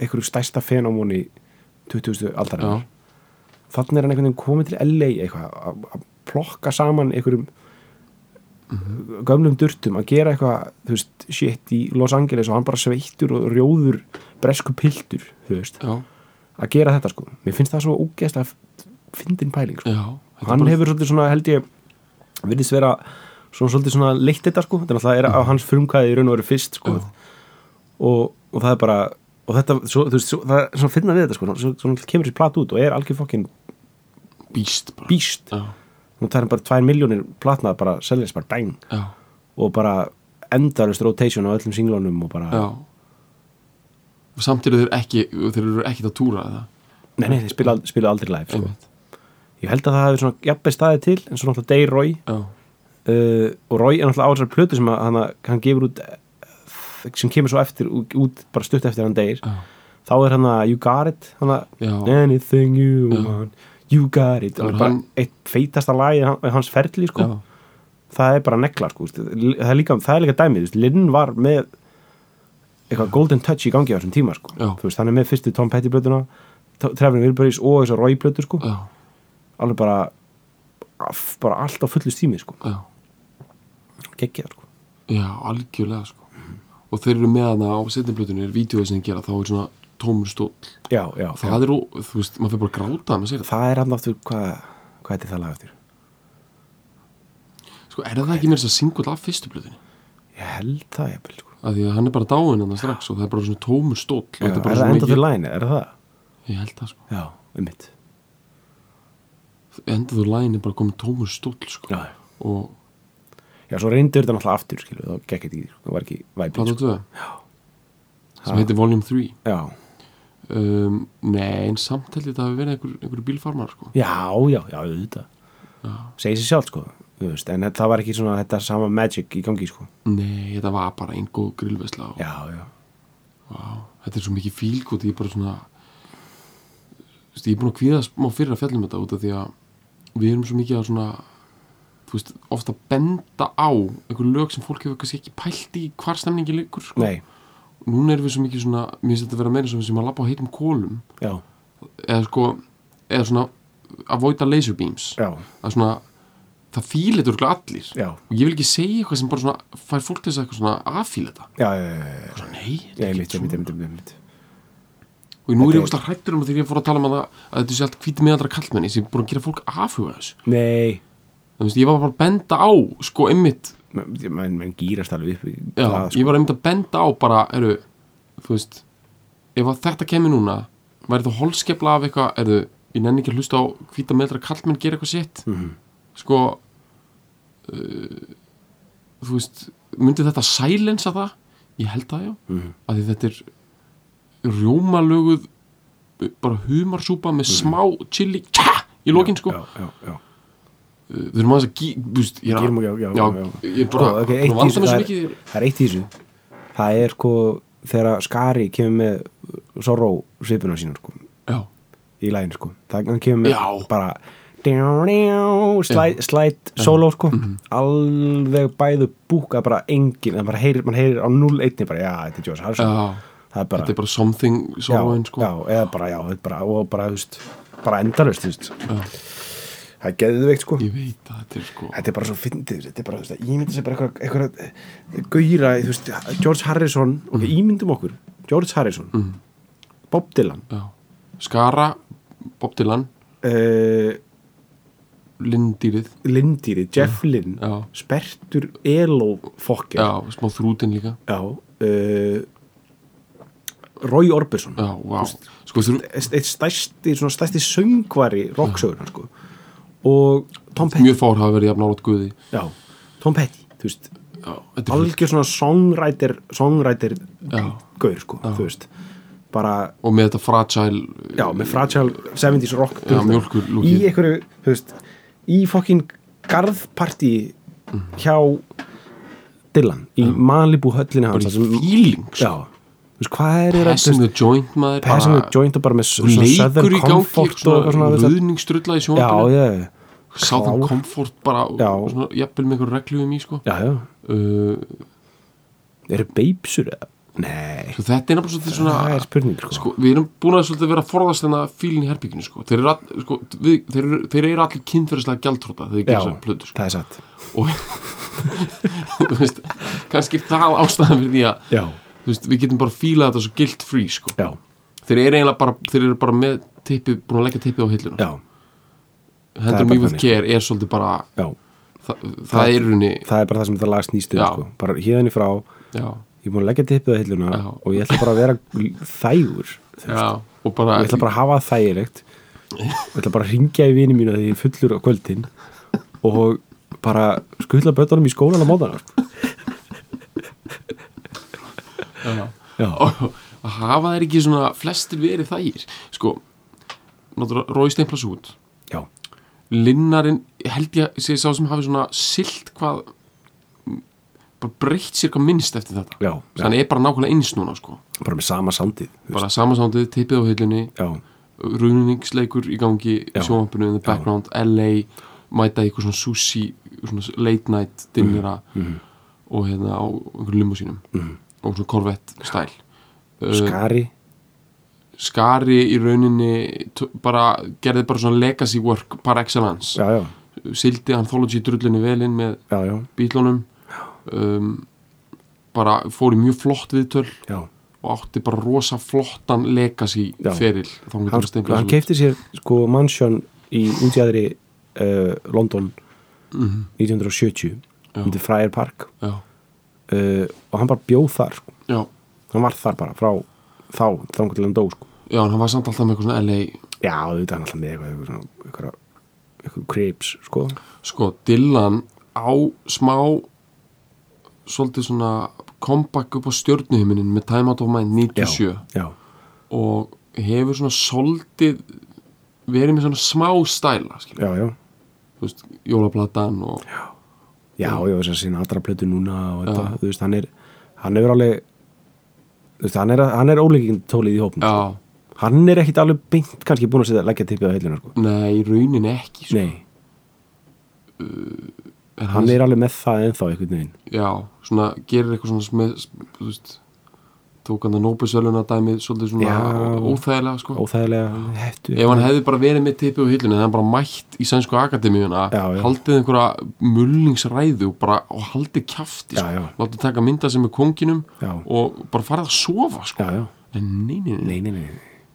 [SPEAKER 2] einhverju stærsta fenómoni 20.
[SPEAKER 3] já,
[SPEAKER 2] aldarinnar þannig er hann einhvern veginn komið til LA eitthvað, að- að plokka saman einhverjum gömlum durtum að gera eitthvað, þú veist, shit í Los Angeles og hann bara sveittur og rjóður bresku piltur, þú veist
[SPEAKER 3] já,
[SPEAKER 2] að gera þetta sko, mér finnst það svo ógeðslega fyndin pæling sko,
[SPEAKER 3] já Þetta
[SPEAKER 2] hann
[SPEAKER 3] bara-
[SPEAKER 2] hefur svolítið svona held ég virðist vera svona svolítið svona leitt þetta sko, þannig að það er á hans frumkæði í raun og veru fyrst sko og, og það er bara og þetta, svo, þú veist, svo, það er svona finna við þetta sko svo, svona kemur sér plat út og er algjör fokkin
[SPEAKER 3] býst bara
[SPEAKER 2] býst
[SPEAKER 3] já,
[SPEAKER 2] nú tærum bara 2 miljónir platna bara seljast bara bæn
[SPEAKER 3] já,
[SPEAKER 2] og bara endarust rotation á öllum singlónum og bara,
[SPEAKER 3] já og samt eru þeir ekki þeir eru ekki að túra eða
[SPEAKER 2] nei nei, þeir spila, ald- spila aldrei live sko.
[SPEAKER 3] einmitt,
[SPEAKER 2] ég held að það hefði svona jafnveg staðið til en svo náttúrulega Day Roy
[SPEAKER 3] já,
[SPEAKER 2] uh, og Roy er náttúrulega á þessar plötu sem að, hann, hann gefur út eh, sem kemur svo eftir, út bara stutt eftir hann deyr,
[SPEAKER 3] já,
[SPEAKER 2] þá er hann að You Got It, hann að
[SPEAKER 3] já,
[SPEAKER 2] Anything you
[SPEAKER 3] Já.
[SPEAKER 2] want, you got it
[SPEAKER 3] Það er
[SPEAKER 2] og bara
[SPEAKER 3] hann-
[SPEAKER 2] eitt feitasta lagi hans, hans ferli sko,
[SPEAKER 3] já,
[SPEAKER 2] það er bara negla sko, veist, það er líka, það er líka dæmið veist, Lynn var með eitthvað golden touch í gangi á þessum tíma sko.
[SPEAKER 3] Já.
[SPEAKER 2] Þú veist, hann er með fyrstu Tom Petty blötuna Trevin Wilburys og þessar Roy blötu sko.
[SPEAKER 3] já,
[SPEAKER 2] alveg bara af- bara allt á fullu stími sko.
[SPEAKER 3] já,
[SPEAKER 2] geggjað sko.
[SPEAKER 3] já algjörlega sko. og þeir eru með hana á setjumblötunni er vídeoið sem þeir gera þá er svona tómur stóll
[SPEAKER 2] já, já, já.
[SPEAKER 3] það er, ó- þú veist, maður fyrir bara að gráta maður segir það,
[SPEAKER 2] það er hann aftur hvað hva heitir það lag aftur
[SPEAKER 3] sko, er það ekki mér þess að singull af fyrstu blötunni
[SPEAKER 2] ég held það jafnvel sko.
[SPEAKER 3] að því að hann er bara dáin hann strax og það er bara svona tómur stóll og
[SPEAKER 2] já,
[SPEAKER 3] þetta
[SPEAKER 2] er
[SPEAKER 3] er bara
[SPEAKER 2] það
[SPEAKER 3] svo
[SPEAKER 2] enda
[SPEAKER 3] mikið
[SPEAKER 2] fyrir læni, er það
[SPEAKER 3] ég held það sko,
[SPEAKER 2] já, um mitt
[SPEAKER 3] enda þú læn er bara komið tómur stóll sko
[SPEAKER 2] já, já.
[SPEAKER 3] og
[SPEAKER 2] já, svo reyndur þetta náttúrulega aftur skilu, þá gekk þetta ekki, sko, það var ekki væpið
[SPEAKER 3] plata
[SPEAKER 2] sko.
[SPEAKER 3] 2 sem heitir Volume 3
[SPEAKER 2] já,
[SPEAKER 3] um, nei, en samt held ég þetta hafi verið einhver, einhver bílfarmar sko
[SPEAKER 2] já, já, já, auðvitað segir sér sjálf sko þú veist, en það var ekki svona þetta sama magic í gangi sko
[SPEAKER 3] Nei, þetta var bara einn góð grillvesla og
[SPEAKER 2] já, já,
[SPEAKER 3] Vá, þetta er svo mikið fílgótt, ég er bara svona þú veist, ég er búin að kvíða smá fyrir að fjallum þetta út af því að við erum svo mikið að svona þú veist, ofta benda á einhver lög sem fólk hefur kannski ekki pælt í hvar stemningi liggur, sko
[SPEAKER 2] nei,
[SPEAKER 3] núna erum við svo mikið svona, mér finnst þetta að vera meira svona sem að labba á heitum kólum
[SPEAKER 2] já,
[SPEAKER 3] eða sko, eða svona avoida laser beams
[SPEAKER 2] já
[SPEAKER 3] að svona, það fíla þetta örugglega allir
[SPEAKER 2] já,
[SPEAKER 3] og ég vil ekki segja eitthvað sem bara svona fær fólk til þess að eitthvað svona aðfíla þetta
[SPEAKER 2] já, já, já, já,
[SPEAKER 3] Bara nei, þetta
[SPEAKER 2] já,
[SPEAKER 3] er
[SPEAKER 2] ég mitt, ég
[SPEAKER 3] ekki
[SPEAKER 2] mitt, ég mitt, ég mitt
[SPEAKER 3] og nú
[SPEAKER 2] Þetta
[SPEAKER 3] er
[SPEAKER 2] er-
[SPEAKER 3] ég óslega hrættur um að þegar ég fór að tala um að, það- að þetta sé allt hvítið meðaldra kallmenni sem er búin að gera fólk afhuga þessu
[SPEAKER 2] nei,
[SPEAKER 3] þú veist, ég var bara að benda á sko einmitt,
[SPEAKER 2] menn, menn, menn gýrast alveg upp í sko.
[SPEAKER 3] já,
[SPEAKER 2] það,
[SPEAKER 3] ég var einmitt að benda á bara, eru, þú veist ef að þetta kemur núna væri það holskepla af eitthvað, eru ég nenni ekki að hlusta á hvítið meðaldra kallmenn gera eitthvað sitt
[SPEAKER 2] Mhm.
[SPEAKER 3] sko uh, þú veist myndi þetta sælensa það ég held það já,
[SPEAKER 2] Mhm.
[SPEAKER 3] af því þetta er rjómalöguð bara humarsúpa með smá chili tja, í lokin sko
[SPEAKER 2] Mhm. já, já, já,
[SPEAKER 3] Uh, við erum aðeins að gí, búst, ég, er
[SPEAKER 2] Gerum
[SPEAKER 3] að-
[SPEAKER 2] og já, já,
[SPEAKER 3] já,
[SPEAKER 2] já.
[SPEAKER 3] ég er bara
[SPEAKER 2] Sko, ok,
[SPEAKER 3] búin
[SPEAKER 2] eitt
[SPEAKER 3] að
[SPEAKER 2] í
[SPEAKER 3] vanda
[SPEAKER 2] þessu,
[SPEAKER 3] mér svo
[SPEAKER 2] það er-
[SPEAKER 3] mikið
[SPEAKER 2] það er eitt í þessu það er sko þegar skari kemur með sorró svipuna sína sko
[SPEAKER 3] já,
[SPEAKER 2] í lægin sko það hann kemur með
[SPEAKER 3] Já.
[SPEAKER 2] bara djá, djá, slæt, slæt solo sko
[SPEAKER 3] Mhm.
[SPEAKER 2] alveg bæðu búka bara engin það bara heyrir, mann heyrir á 0-1 bara já, þetta er Josh Harrison
[SPEAKER 3] já,
[SPEAKER 2] það er bara,
[SPEAKER 3] þetta er bara something sorrow sko.
[SPEAKER 2] já, eða bara, já, þetta er bara og bara, þú veist, bara endalust veist. það er geðveikt sko
[SPEAKER 3] ég veit að þetta er sko
[SPEAKER 2] þetta er bara svo fyndið þetta er bara, þú veist, að ímynda sér bara eitthvað, eitthvað gauðra, þú veist, George Harrison ok,
[SPEAKER 3] Mhm.
[SPEAKER 2] ímyndum okkur, George Harrison Bob Dylan
[SPEAKER 3] já. Skara, Bob Dylan
[SPEAKER 2] uh,
[SPEAKER 3] Lindýrið,
[SPEAKER 2] Lindýri, Jeff Lynn
[SPEAKER 3] já.
[SPEAKER 2] Spertur Elo Fokker
[SPEAKER 3] já, smá þrútin líka
[SPEAKER 2] já uh, Roy Orbison
[SPEAKER 3] já, vá, sko þú
[SPEAKER 2] eitt stærsti, svona stærsti söngvari rocksögurnar, sko og Tom Petty
[SPEAKER 3] mjög fár hafa verið jafn álátt guði
[SPEAKER 2] já, Tom Petty, þú veist
[SPEAKER 3] já, þetta er
[SPEAKER 2] algjör svona songwriter songwriter
[SPEAKER 3] Já.
[SPEAKER 2] gaur, sko, þú veist bara
[SPEAKER 3] og með þetta fragile
[SPEAKER 2] já, með fragile 70s rock
[SPEAKER 3] Já,
[SPEAKER 2] þú veist,
[SPEAKER 3] mjólkurlúkið.
[SPEAKER 2] í einhverju, þú veist í fokkin garðparti hjá Dylan, í Malibu höllinni hans
[SPEAKER 3] bara
[SPEAKER 2] þar sem-
[SPEAKER 3] í feeling sko.
[SPEAKER 2] já, þú veist, hvað er þeirra
[SPEAKER 3] passing the joint maður
[SPEAKER 2] passing the
[SPEAKER 3] bara-
[SPEAKER 2] joint og bara með
[SPEAKER 3] og
[SPEAKER 2] svona
[SPEAKER 3] leikur í
[SPEAKER 2] Southern
[SPEAKER 3] gangi
[SPEAKER 2] Comfort og eitthvað svona, þú veist,
[SPEAKER 3] ruðningstrulla í
[SPEAKER 2] já,
[SPEAKER 3] sjónbunni
[SPEAKER 2] já,
[SPEAKER 3] Southern
[SPEAKER 2] klár.
[SPEAKER 3] Comfort bara
[SPEAKER 2] Já.
[SPEAKER 3] og svona, jafnvel með einhver reglum í sko
[SPEAKER 2] já, já
[SPEAKER 3] uh,
[SPEAKER 2] eru babesur eða? Nei,
[SPEAKER 3] svo Sko, þetta er náttúrulega svolítið svona
[SPEAKER 2] það er spurning, sko,
[SPEAKER 3] sko, við erum búin að svolítið vera að forðast þennan fílinn í herbygginu sko. þeir, eru all, sko, við, þeir, eru, þeir eru allir kynferðislega gjaldtróta þegar
[SPEAKER 2] já,
[SPEAKER 3] þeir gera þessar plötu sko.
[SPEAKER 2] það er satt
[SPEAKER 3] og [laughs] þú veist, kannski er það ástæðan fyrir því að
[SPEAKER 2] já,
[SPEAKER 3] þú veist, við getum bara fílað þetta svo guilt free sko.
[SPEAKER 2] já,
[SPEAKER 3] þeir eru eiginlega bara, þeir eru bara með tippið, búin að leggja tippið á hilluna
[SPEAKER 2] já, það er bara
[SPEAKER 3] hendur mjög við
[SPEAKER 2] þannig.
[SPEAKER 3] kér er svolítið bara
[SPEAKER 2] já
[SPEAKER 3] það, það er runni
[SPEAKER 2] það er bara það sem það lag snýst um,
[SPEAKER 3] Já.
[SPEAKER 2] sko bara hérðinni frá,
[SPEAKER 3] já,
[SPEAKER 2] ég er búin að leggja tippið á hilluna
[SPEAKER 3] Já.
[SPEAKER 2] og ég ætla bara að vera þægur
[SPEAKER 3] já, og bara
[SPEAKER 2] ég ætla bara að hafa það þægilegt ég ætla bara að ringja í vini mínu þegar ég er fullur á kvöldin og bara skutla bötunum í skólan á mótana sko.
[SPEAKER 3] já.
[SPEAKER 2] já,
[SPEAKER 3] og að hafa þeir ekki svona flestir verið þægir sko, náttúrulega Rói Steinflas út
[SPEAKER 2] já,
[SPEAKER 3] Linnarinn held ég sé sá sem hafi svona silt hvað bara breytt sér hvað minnst eftir þetta
[SPEAKER 2] já,
[SPEAKER 3] Svo
[SPEAKER 2] já.
[SPEAKER 3] hann er bara nákvæmlega eins núna sko
[SPEAKER 2] bara með sama sandið þú veist.
[SPEAKER 3] bara samasándið, tippið á hillinni
[SPEAKER 2] já,
[SPEAKER 3] ruðningsleikur í gangi í
[SPEAKER 2] Já.
[SPEAKER 3] sjónvampinu in the background, LA mæta í eitthvað svona sushi svona late night dinnera
[SPEAKER 2] Mhm,
[SPEAKER 3] og hérna á einhverjum limó sínum mm. og svona korvett stæl uh,
[SPEAKER 2] skari
[SPEAKER 3] skari í rauninni t- bara, gerði bara svona legacy work par excellence,
[SPEAKER 2] já, já,
[SPEAKER 3] sildi anthology drullinni velinn með
[SPEAKER 2] já, já,
[SPEAKER 3] bílunum um, bara fór í mjög flott viðtöl
[SPEAKER 2] já.
[SPEAKER 3] og átti bara rosa flottan legacy
[SPEAKER 2] Já.
[SPEAKER 3] feril þá hún
[SPEAKER 2] hann,
[SPEAKER 3] getur steinflað
[SPEAKER 2] hann keipti sér sko mansion í útjæðri uh, London 1970
[SPEAKER 3] Já.
[SPEAKER 2] undir Friar Park
[SPEAKER 3] Mhm. já,
[SPEAKER 2] uh, og hann bara bjóð þar sko.
[SPEAKER 3] já
[SPEAKER 2] hann var þar bara frá þá þangur til hann dó sko.
[SPEAKER 3] Já, en hann var samt alltaf með eitthvað svona LA
[SPEAKER 2] já, auðvitað hann alltaf með eitthvað eitthvað, svona- eitthvað, eitthvað creeps sko.
[SPEAKER 3] Sko, Dylan á smá svolítið svona comeback upp á stjörnuhiminin með Time Out of Mind 97
[SPEAKER 2] já,
[SPEAKER 3] og hefur svona svolítið verið með svona smá stæla skilur.
[SPEAKER 2] já, já,
[SPEAKER 3] þú veist, jólaplatan og,
[SPEAKER 2] Já. já, já, þess að sinna allra plötu núna og þetta,
[SPEAKER 3] Já.
[SPEAKER 2] þú veist, hann er hann hefur alveg þú veist, hann er, hann er óleikin tólið í hópum
[SPEAKER 3] já,
[SPEAKER 2] sko. hann er ekkit alveg beint kannski búin að setja, leggja tippið á heilina sko.
[SPEAKER 3] nei, í rauninni ekki sko.
[SPEAKER 2] nei,
[SPEAKER 3] En
[SPEAKER 2] hann er alveg með það ennþá einhvern veginn
[SPEAKER 3] já, svona, gerir eitthvað svona með, þú veist tók hann að nóbisveluna dæmið svolítið svona
[SPEAKER 2] Já.
[SPEAKER 3] óþægilega
[SPEAKER 2] Mm.
[SPEAKER 3] sko
[SPEAKER 2] óþægilega, hættu
[SPEAKER 3] ef hann hefði bara verið með tippi og hillunni en hann bara mætt í sænsku akademíuna
[SPEAKER 2] Já, já.
[SPEAKER 3] haldið einhverja mullingsræðu og, bara, og haldið kjafti
[SPEAKER 2] Já, já.
[SPEAKER 3] sko. látið taka mynda sem er konginum
[SPEAKER 2] Já.
[SPEAKER 3] og bara farið að sofa sko.
[SPEAKER 2] já, já,
[SPEAKER 3] en nei, nei, nei,
[SPEAKER 2] nei, nei, nei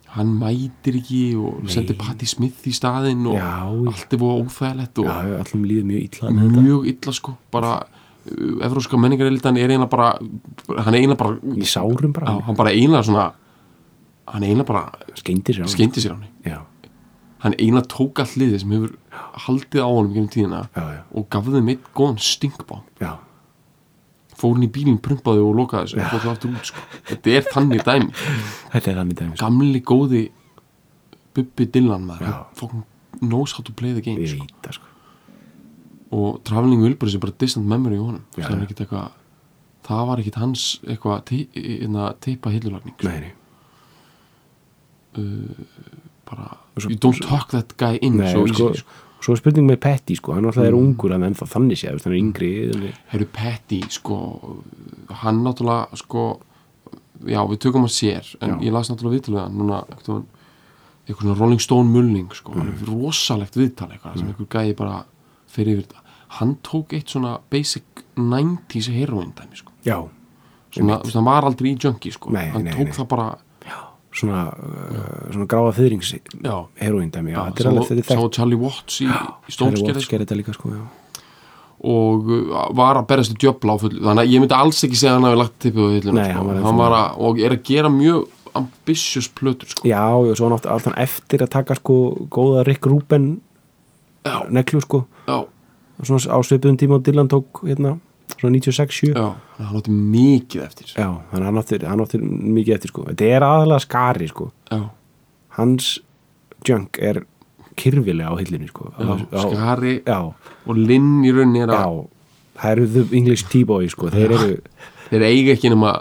[SPEAKER 3] hann mætir ekki og sendir Patti Smith í staðinn og
[SPEAKER 2] Já.
[SPEAKER 3] allt er búið óþægilegt og
[SPEAKER 2] já, já, allum líður mjög illa með þetta
[SPEAKER 3] mjög illa sko bara, uh, evróska menningarelitan er eiginlega bara hann er eiginlega bara
[SPEAKER 2] í sárum
[SPEAKER 3] á,
[SPEAKER 2] bara,
[SPEAKER 3] hann bara eiginlega svona hann eiginlega bara
[SPEAKER 2] skeindir sér á hann.
[SPEAKER 3] skeindi sér á hann
[SPEAKER 2] já,
[SPEAKER 3] hann eiginlega tók allt liðið sem hefur haldið á honum gennum tíðina
[SPEAKER 2] já, já,
[SPEAKER 3] og gaf þeim eitt góðan stinkbá
[SPEAKER 2] já
[SPEAKER 3] fór hann í bílinn, prumpaði og lokaði þessu og fór það aftur út sko. þetta er þannig dæmi
[SPEAKER 2] þetta er þannig dæmis
[SPEAKER 3] gamli góði Bubbi Dylan maður
[SPEAKER 2] Já.
[SPEAKER 3] hann fucking knows how to play the game
[SPEAKER 2] ég
[SPEAKER 3] sko.
[SPEAKER 2] veit það sko
[SPEAKER 3] og Traveling Wilburys er bara distant memory í honum
[SPEAKER 2] Já,
[SPEAKER 3] það, er
[SPEAKER 2] já.
[SPEAKER 3] ekkit eitthvað, það var ekkit hans eitthvað ti- hérna, teipa hillulagning
[SPEAKER 2] nei, nei,
[SPEAKER 3] bara,
[SPEAKER 2] svo-
[SPEAKER 3] you don't talk that guy in
[SPEAKER 2] nei
[SPEAKER 3] so
[SPEAKER 2] sko,
[SPEAKER 3] easily sko. Mm.
[SPEAKER 2] svo er spurning með Petty sko, hann alltaf er ungur en ennþá þannig sé, hann er yngri þannig,
[SPEAKER 3] Herru Petty, sko hann náttúrulega, sko já, við tökum að sér en
[SPEAKER 2] Já.
[SPEAKER 3] ég las náttúrulega viðtalið hann núna, eitthvað, eitthvað svona Rolling Stone mulling sko,
[SPEAKER 2] Mhm.
[SPEAKER 3] mm. hann er rosalegt viðtal eitthvað sem einhver gæði bara fyrir yfir þetta hann tók eitt svona basic 90s heroin dæmi, sko
[SPEAKER 2] já,
[SPEAKER 3] svona, þú veist, hann var aldrei í junkie, sko
[SPEAKER 2] Nei,
[SPEAKER 3] hann
[SPEAKER 2] nei,
[SPEAKER 3] tók
[SPEAKER 2] nei.
[SPEAKER 3] það bara,
[SPEAKER 2] svona uh, svona gráða fyrings
[SPEAKER 3] já
[SPEAKER 2] heroin dæmi, já,
[SPEAKER 3] Já,
[SPEAKER 2] þetta er alveg þetta er
[SPEAKER 3] sá
[SPEAKER 2] þekkt
[SPEAKER 3] Charlie Watts í, í
[SPEAKER 2] [gasps] Charlie
[SPEAKER 3] stómskerði
[SPEAKER 2] Watts gerir þetta líka sko, já
[SPEAKER 3] og uh, var að berjast í djöfla á fullu þannig að ég myndi alls ekki segja að hann hafi lagt tippið á hilluna
[SPEAKER 2] Nei,
[SPEAKER 3] sko.
[SPEAKER 2] hann var ennþá-
[SPEAKER 3] hann var að, og er að gera mjög ambitious plötur sko.
[SPEAKER 2] Já, og svo náttúrulega alltaf eftir að taka sko góða Rick Rubin
[SPEAKER 3] Já.
[SPEAKER 2] neklu sko
[SPEAKER 3] já,
[SPEAKER 2] svona á svipuðum tíma og Dylan tók hérna, svona 96-7
[SPEAKER 3] já, hann átti mikið eftir já,
[SPEAKER 2] Já, þannig að hann átti, hann átti mikið eftir sko Þetta er aðalega skari sko Hans junk er kyrfilega á hillinu sko
[SPEAKER 3] já,
[SPEAKER 2] á, á,
[SPEAKER 3] skari
[SPEAKER 2] Já,
[SPEAKER 3] og linn í rauninni er
[SPEAKER 2] já
[SPEAKER 3] að
[SPEAKER 2] Það eru the English T-boy sko Þeir eru,
[SPEAKER 3] þeir eiga ekki nema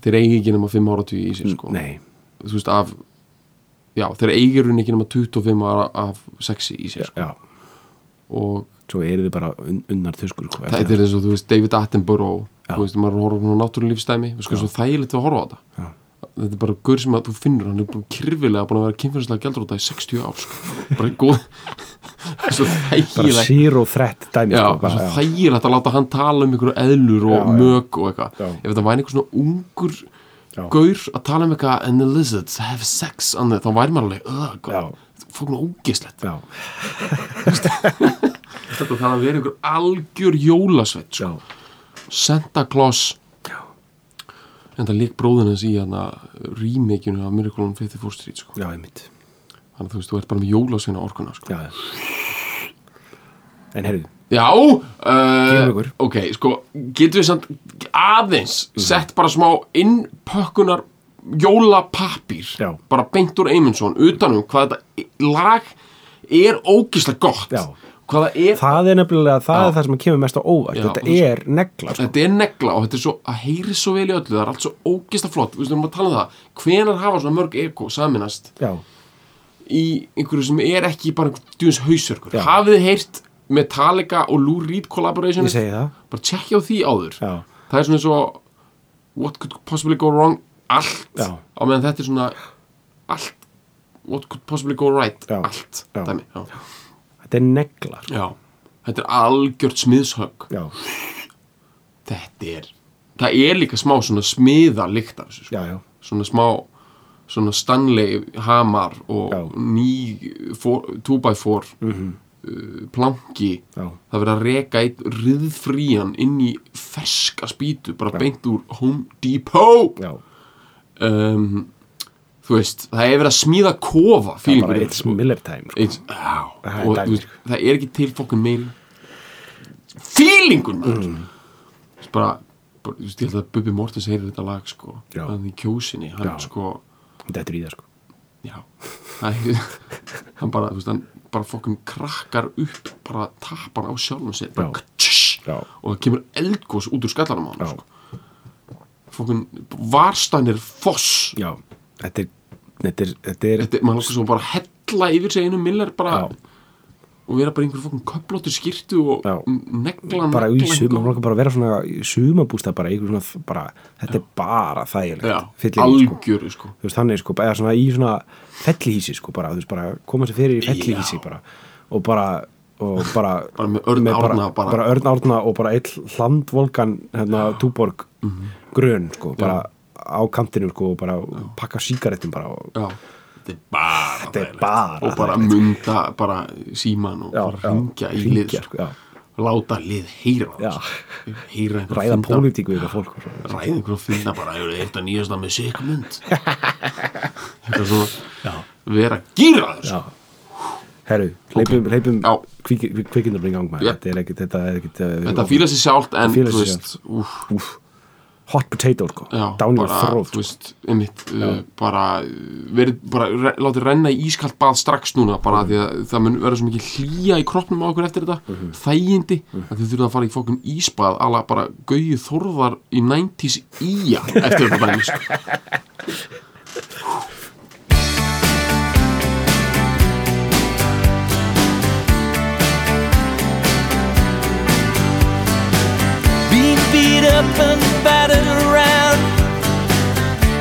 [SPEAKER 3] þeir eiga ekki nema 5 ára tugi í sér sko.
[SPEAKER 2] nei,
[SPEAKER 3] þú veist af já, þeir eiga í rauninni ekki nema 25 ára af sexi í sér sko.
[SPEAKER 2] já
[SPEAKER 3] og
[SPEAKER 2] Svo eru þið bara un, unnar þuskur sko eftir
[SPEAKER 3] þetta er eins og þú veist David Attenborough
[SPEAKER 2] Já.
[SPEAKER 3] þú veist, maður horfður á náttúrulífstæmi sko, svo þægilegt að horfa á þetta
[SPEAKER 2] Já.
[SPEAKER 3] þetta er bara gaur sem að þú finnur hann er bara kyrfilega búin að vera kynferðislega gældróta í 60 ár sko. bara góð [laughs] svo
[SPEAKER 2] Bara
[SPEAKER 3] þægilegt
[SPEAKER 2] zero threat dæmi
[SPEAKER 3] Já,
[SPEAKER 2] sko
[SPEAKER 3] bara,
[SPEAKER 2] bara,
[SPEAKER 3] svo þægilegt að láta hann tala um einhverju eðlur og
[SPEAKER 2] Já, já.
[SPEAKER 3] mög og eitthvað
[SPEAKER 2] Já.
[SPEAKER 3] ef þetta væri einhver svona ungur
[SPEAKER 2] Já.
[SPEAKER 3] gaur að tala um eitthvað and the lizards have sex on it þá væri maður alveg, öða,
[SPEAKER 2] Já.
[SPEAKER 3] hvað fóknu ógislegt
[SPEAKER 2] já,
[SPEAKER 3] þetta þarf að vera einhver algjör jólasveit sko.
[SPEAKER 2] já,
[SPEAKER 3] Santa Claus en það leik bróðin hans í hana remakeinu af Miracle on 54 Street sko.
[SPEAKER 2] já, einmitt
[SPEAKER 3] þannig að þú veist, þú ert bara með jólasveina orkuna sko.
[SPEAKER 2] Já En heyrðu
[SPEAKER 3] já,
[SPEAKER 2] Gefum
[SPEAKER 3] uh,
[SPEAKER 2] ykkur.
[SPEAKER 3] ok, sko getum við samt aðeins
[SPEAKER 2] Mhm.
[SPEAKER 3] sett bara smá innpökkunar jólapappir
[SPEAKER 2] Já.
[SPEAKER 3] bara beint úr Eymundsson utanum hvað þetta lag er ógislega gott
[SPEAKER 2] Já.
[SPEAKER 3] hvað það er
[SPEAKER 2] Það er nefnilega, það er það sem kemur mest á óvart
[SPEAKER 3] Já,
[SPEAKER 2] Þetta
[SPEAKER 3] þú veist-
[SPEAKER 2] er negla sko.
[SPEAKER 3] Þetta er negla og þetta er svo að heyri svo vel í öllu það er allt svo ógista flott, við erum að tala um það hvenar hafa svona mörg E eko saminast
[SPEAKER 2] Já,
[SPEAKER 3] í einhverju sem er ekki bara einhver djúins hausörkur
[SPEAKER 2] Já.
[SPEAKER 3] hafið þið heyrt Metallica og Lou Reed collaboration
[SPEAKER 2] ég segi það
[SPEAKER 3] bara tjekkja á því áður
[SPEAKER 2] Já,
[SPEAKER 3] það er svona eins og what could possibly go wrong allt,
[SPEAKER 2] Já.
[SPEAKER 3] á meðan þetta er svona allt, what could possibly go right
[SPEAKER 2] Já.
[SPEAKER 3] allt,
[SPEAKER 2] Já.
[SPEAKER 3] dæmi já.
[SPEAKER 2] þetta er negla sko.
[SPEAKER 3] Já. þetta er algjört smiðshögg
[SPEAKER 2] Já,
[SPEAKER 3] þetta er það er líka smá svona smiða lykt af þessu sko.
[SPEAKER 2] já, já,
[SPEAKER 3] svona smá svona Stanley hamar og
[SPEAKER 2] Já. Mhm.
[SPEAKER 3] ný 2x4 uh, planki
[SPEAKER 2] já,
[SPEAKER 3] það verið að reka eitt riðfrían inn í ferska spýtu bara beint úr Home Depot
[SPEAKER 2] já.
[SPEAKER 3] um, þú veist, það er verið að smíða kofa
[SPEAKER 2] Það er
[SPEAKER 3] fílingur
[SPEAKER 2] bara It's Miller time sko.
[SPEAKER 3] It's, já,
[SPEAKER 2] Það er
[SPEAKER 3] og
[SPEAKER 2] dæmi,
[SPEAKER 3] þú veist, það er ekki til fokkun meiri feelingun maður
[SPEAKER 2] Mm.
[SPEAKER 3] Þú veist, bara, bara, þú veist, ég held að Bubbi Mortis heyrir þetta lag, sko
[SPEAKER 2] Já.
[SPEAKER 3] hann í kjósinni, hann
[SPEAKER 2] Já.
[SPEAKER 3] sko
[SPEAKER 2] Þetta er í það sko.
[SPEAKER 3] já, það er hann bara, þú veist, hann bara fokkun krakkar upp, bara tapar á sjálfum sér bara
[SPEAKER 2] Já.
[SPEAKER 3] tss,
[SPEAKER 2] Já.
[SPEAKER 3] og það kemur eldgós út úr skallanum á hann
[SPEAKER 2] Já.
[SPEAKER 3] sko. Fokkin, varstanir foss
[SPEAKER 2] já, þetta er þetta er, þetta er,
[SPEAKER 3] þetta er, maður lókar svo bara að hella yfir sig einu millar bara
[SPEAKER 2] já,
[SPEAKER 3] og vera bara einhver fokkin köplóttur skýrtu og
[SPEAKER 2] Já.
[SPEAKER 3] negla
[SPEAKER 2] bara í
[SPEAKER 3] negla-
[SPEAKER 2] suma, maður langar bara að vera svona í sumabústa bara, einhver svona, bara þetta er bara
[SPEAKER 3] Já,
[SPEAKER 2] þægilegt, fyllir sko.
[SPEAKER 3] algjöru sko
[SPEAKER 2] þú veist, þannig sko, eða svona í svona fellihísi sko, bara, þú veist, bara koma sér fyrir í fellihísi
[SPEAKER 3] Já.
[SPEAKER 2] bara, og bara og bara,
[SPEAKER 3] Bara með Örn Árna
[SPEAKER 2] bara,
[SPEAKER 3] bara.
[SPEAKER 2] bara Örn Árna og bara eitt hlandvolkan hérna, túborg
[SPEAKER 3] Mhm.
[SPEAKER 2] grön, sko, bara á kantinu sko, og bara pakka sígarettum bara og
[SPEAKER 3] Já, þetta er bara
[SPEAKER 2] Þetta er
[SPEAKER 3] þægilegt.
[SPEAKER 2] bara
[SPEAKER 3] og bara munda, bara síman og
[SPEAKER 2] Já,
[SPEAKER 3] bara
[SPEAKER 2] já,
[SPEAKER 3] hringja í
[SPEAKER 2] hringja,
[SPEAKER 3] lið
[SPEAKER 2] sko, já.
[SPEAKER 3] láta lið heyra það,
[SPEAKER 2] Já.
[SPEAKER 3] sko. heyra einhver
[SPEAKER 2] ræða
[SPEAKER 3] fynda-
[SPEAKER 2] pólitík við þetta fólk og svona.
[SPEAKER 3] ræða einhver að finna bara hefur þetta nýjasta með sigmund þetta er svona vera gýraður sko.
[SPEAKER 2] Já. Herru, leipum, okay. leipum
[SPEAKER 3] Já.
[SPEAKER 2] kvikindurinn í gang maður,
[SPEAKER 3] Já.
[SPEAKER 2] þetta er ekkit þetta er uh, ekkit,
[SPEAKER 3] þetta fýla sér sjálft en
[SPEAKER 2] Fílar
[SPEAKER 3] þú
[SPEAKER 2] sig
[SPEAKER 3] veist úf,
[SPEAKER 2] hot potato, sko,
[SPEAKER 3] já,
[SPEAKER 2] down your
[SPEAKER 3] bara,
[SPEAKER 2] throat
[SPEAKER 3] þú veist, einmitt, uh, bara, uh, verið, bara re, látið renna í ískalt bað strax núna bara því að það mun vera svo mikið hlýja í kroppnum á okkur eftir þetta,
[SPEAKER 2] Mhm.
[SPEAKER 3] þægindi að þið þurfum að fara í fokkun ísbað ala bara gauju þorðar í 90s íja eftir þetta dæmis
[SPEAKER 4] Been beat up and battered around.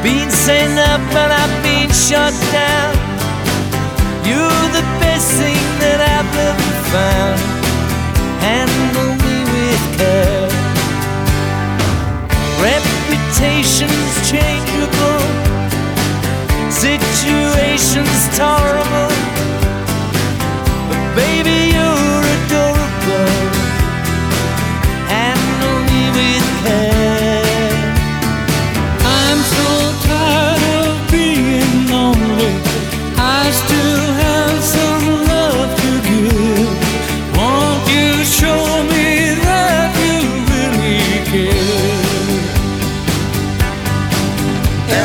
[SPEAKER 4] Been sent up and I've been shot down. You're the best thing that I've ever found. Handle me with care. Reputation's changeable. Situation's tolerable. But baby, you're adorable and only with her. I'm so tired of being lonely. I still have some love to give. Won't you show me that you really care?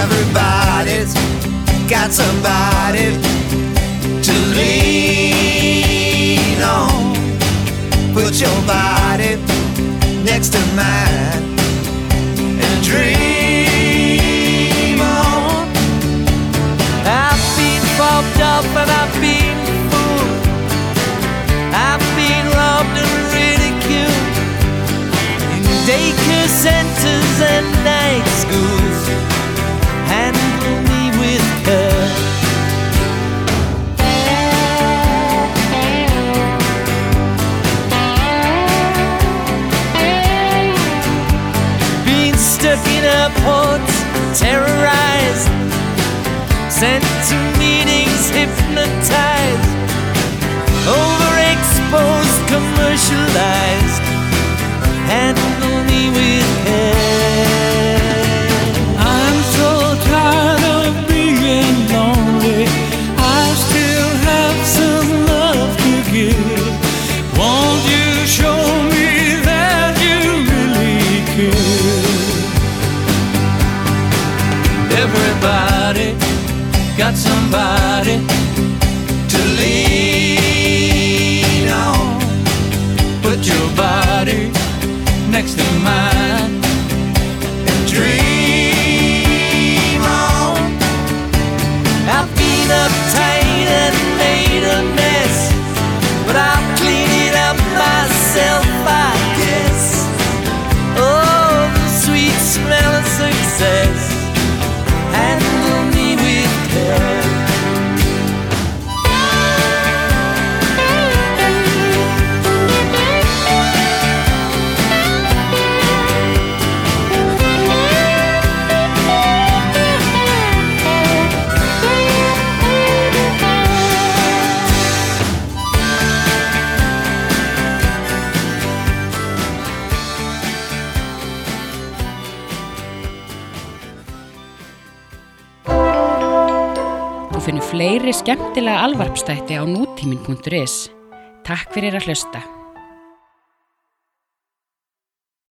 [SPEAKER 4] Everybody's got somebody to lean on. Put your body next to mine and dream on. I've been fucked up and I've been fooled. I've been loved and ridiculed in daycare centers and night schools. Handle me with care. Been stuck in airports, terrorized, sent to meetings, hypnotized, overexposed, commercialized, handle me with care. I'm so tired of being lonely. I still have some love to give. Won't you show me that you really care? Everybody got somebody to lean on. Put your body next to mine and dream on. I've been uptight and made a mess, but I'll clean it up myself, I guess. Oh, the sweet smell of success. Handle me with care.
[SPEAKER 1] Þú finnir fleiri skemmtilega alvarpstætti á nútímin.is. Takk fyrir að hlusta.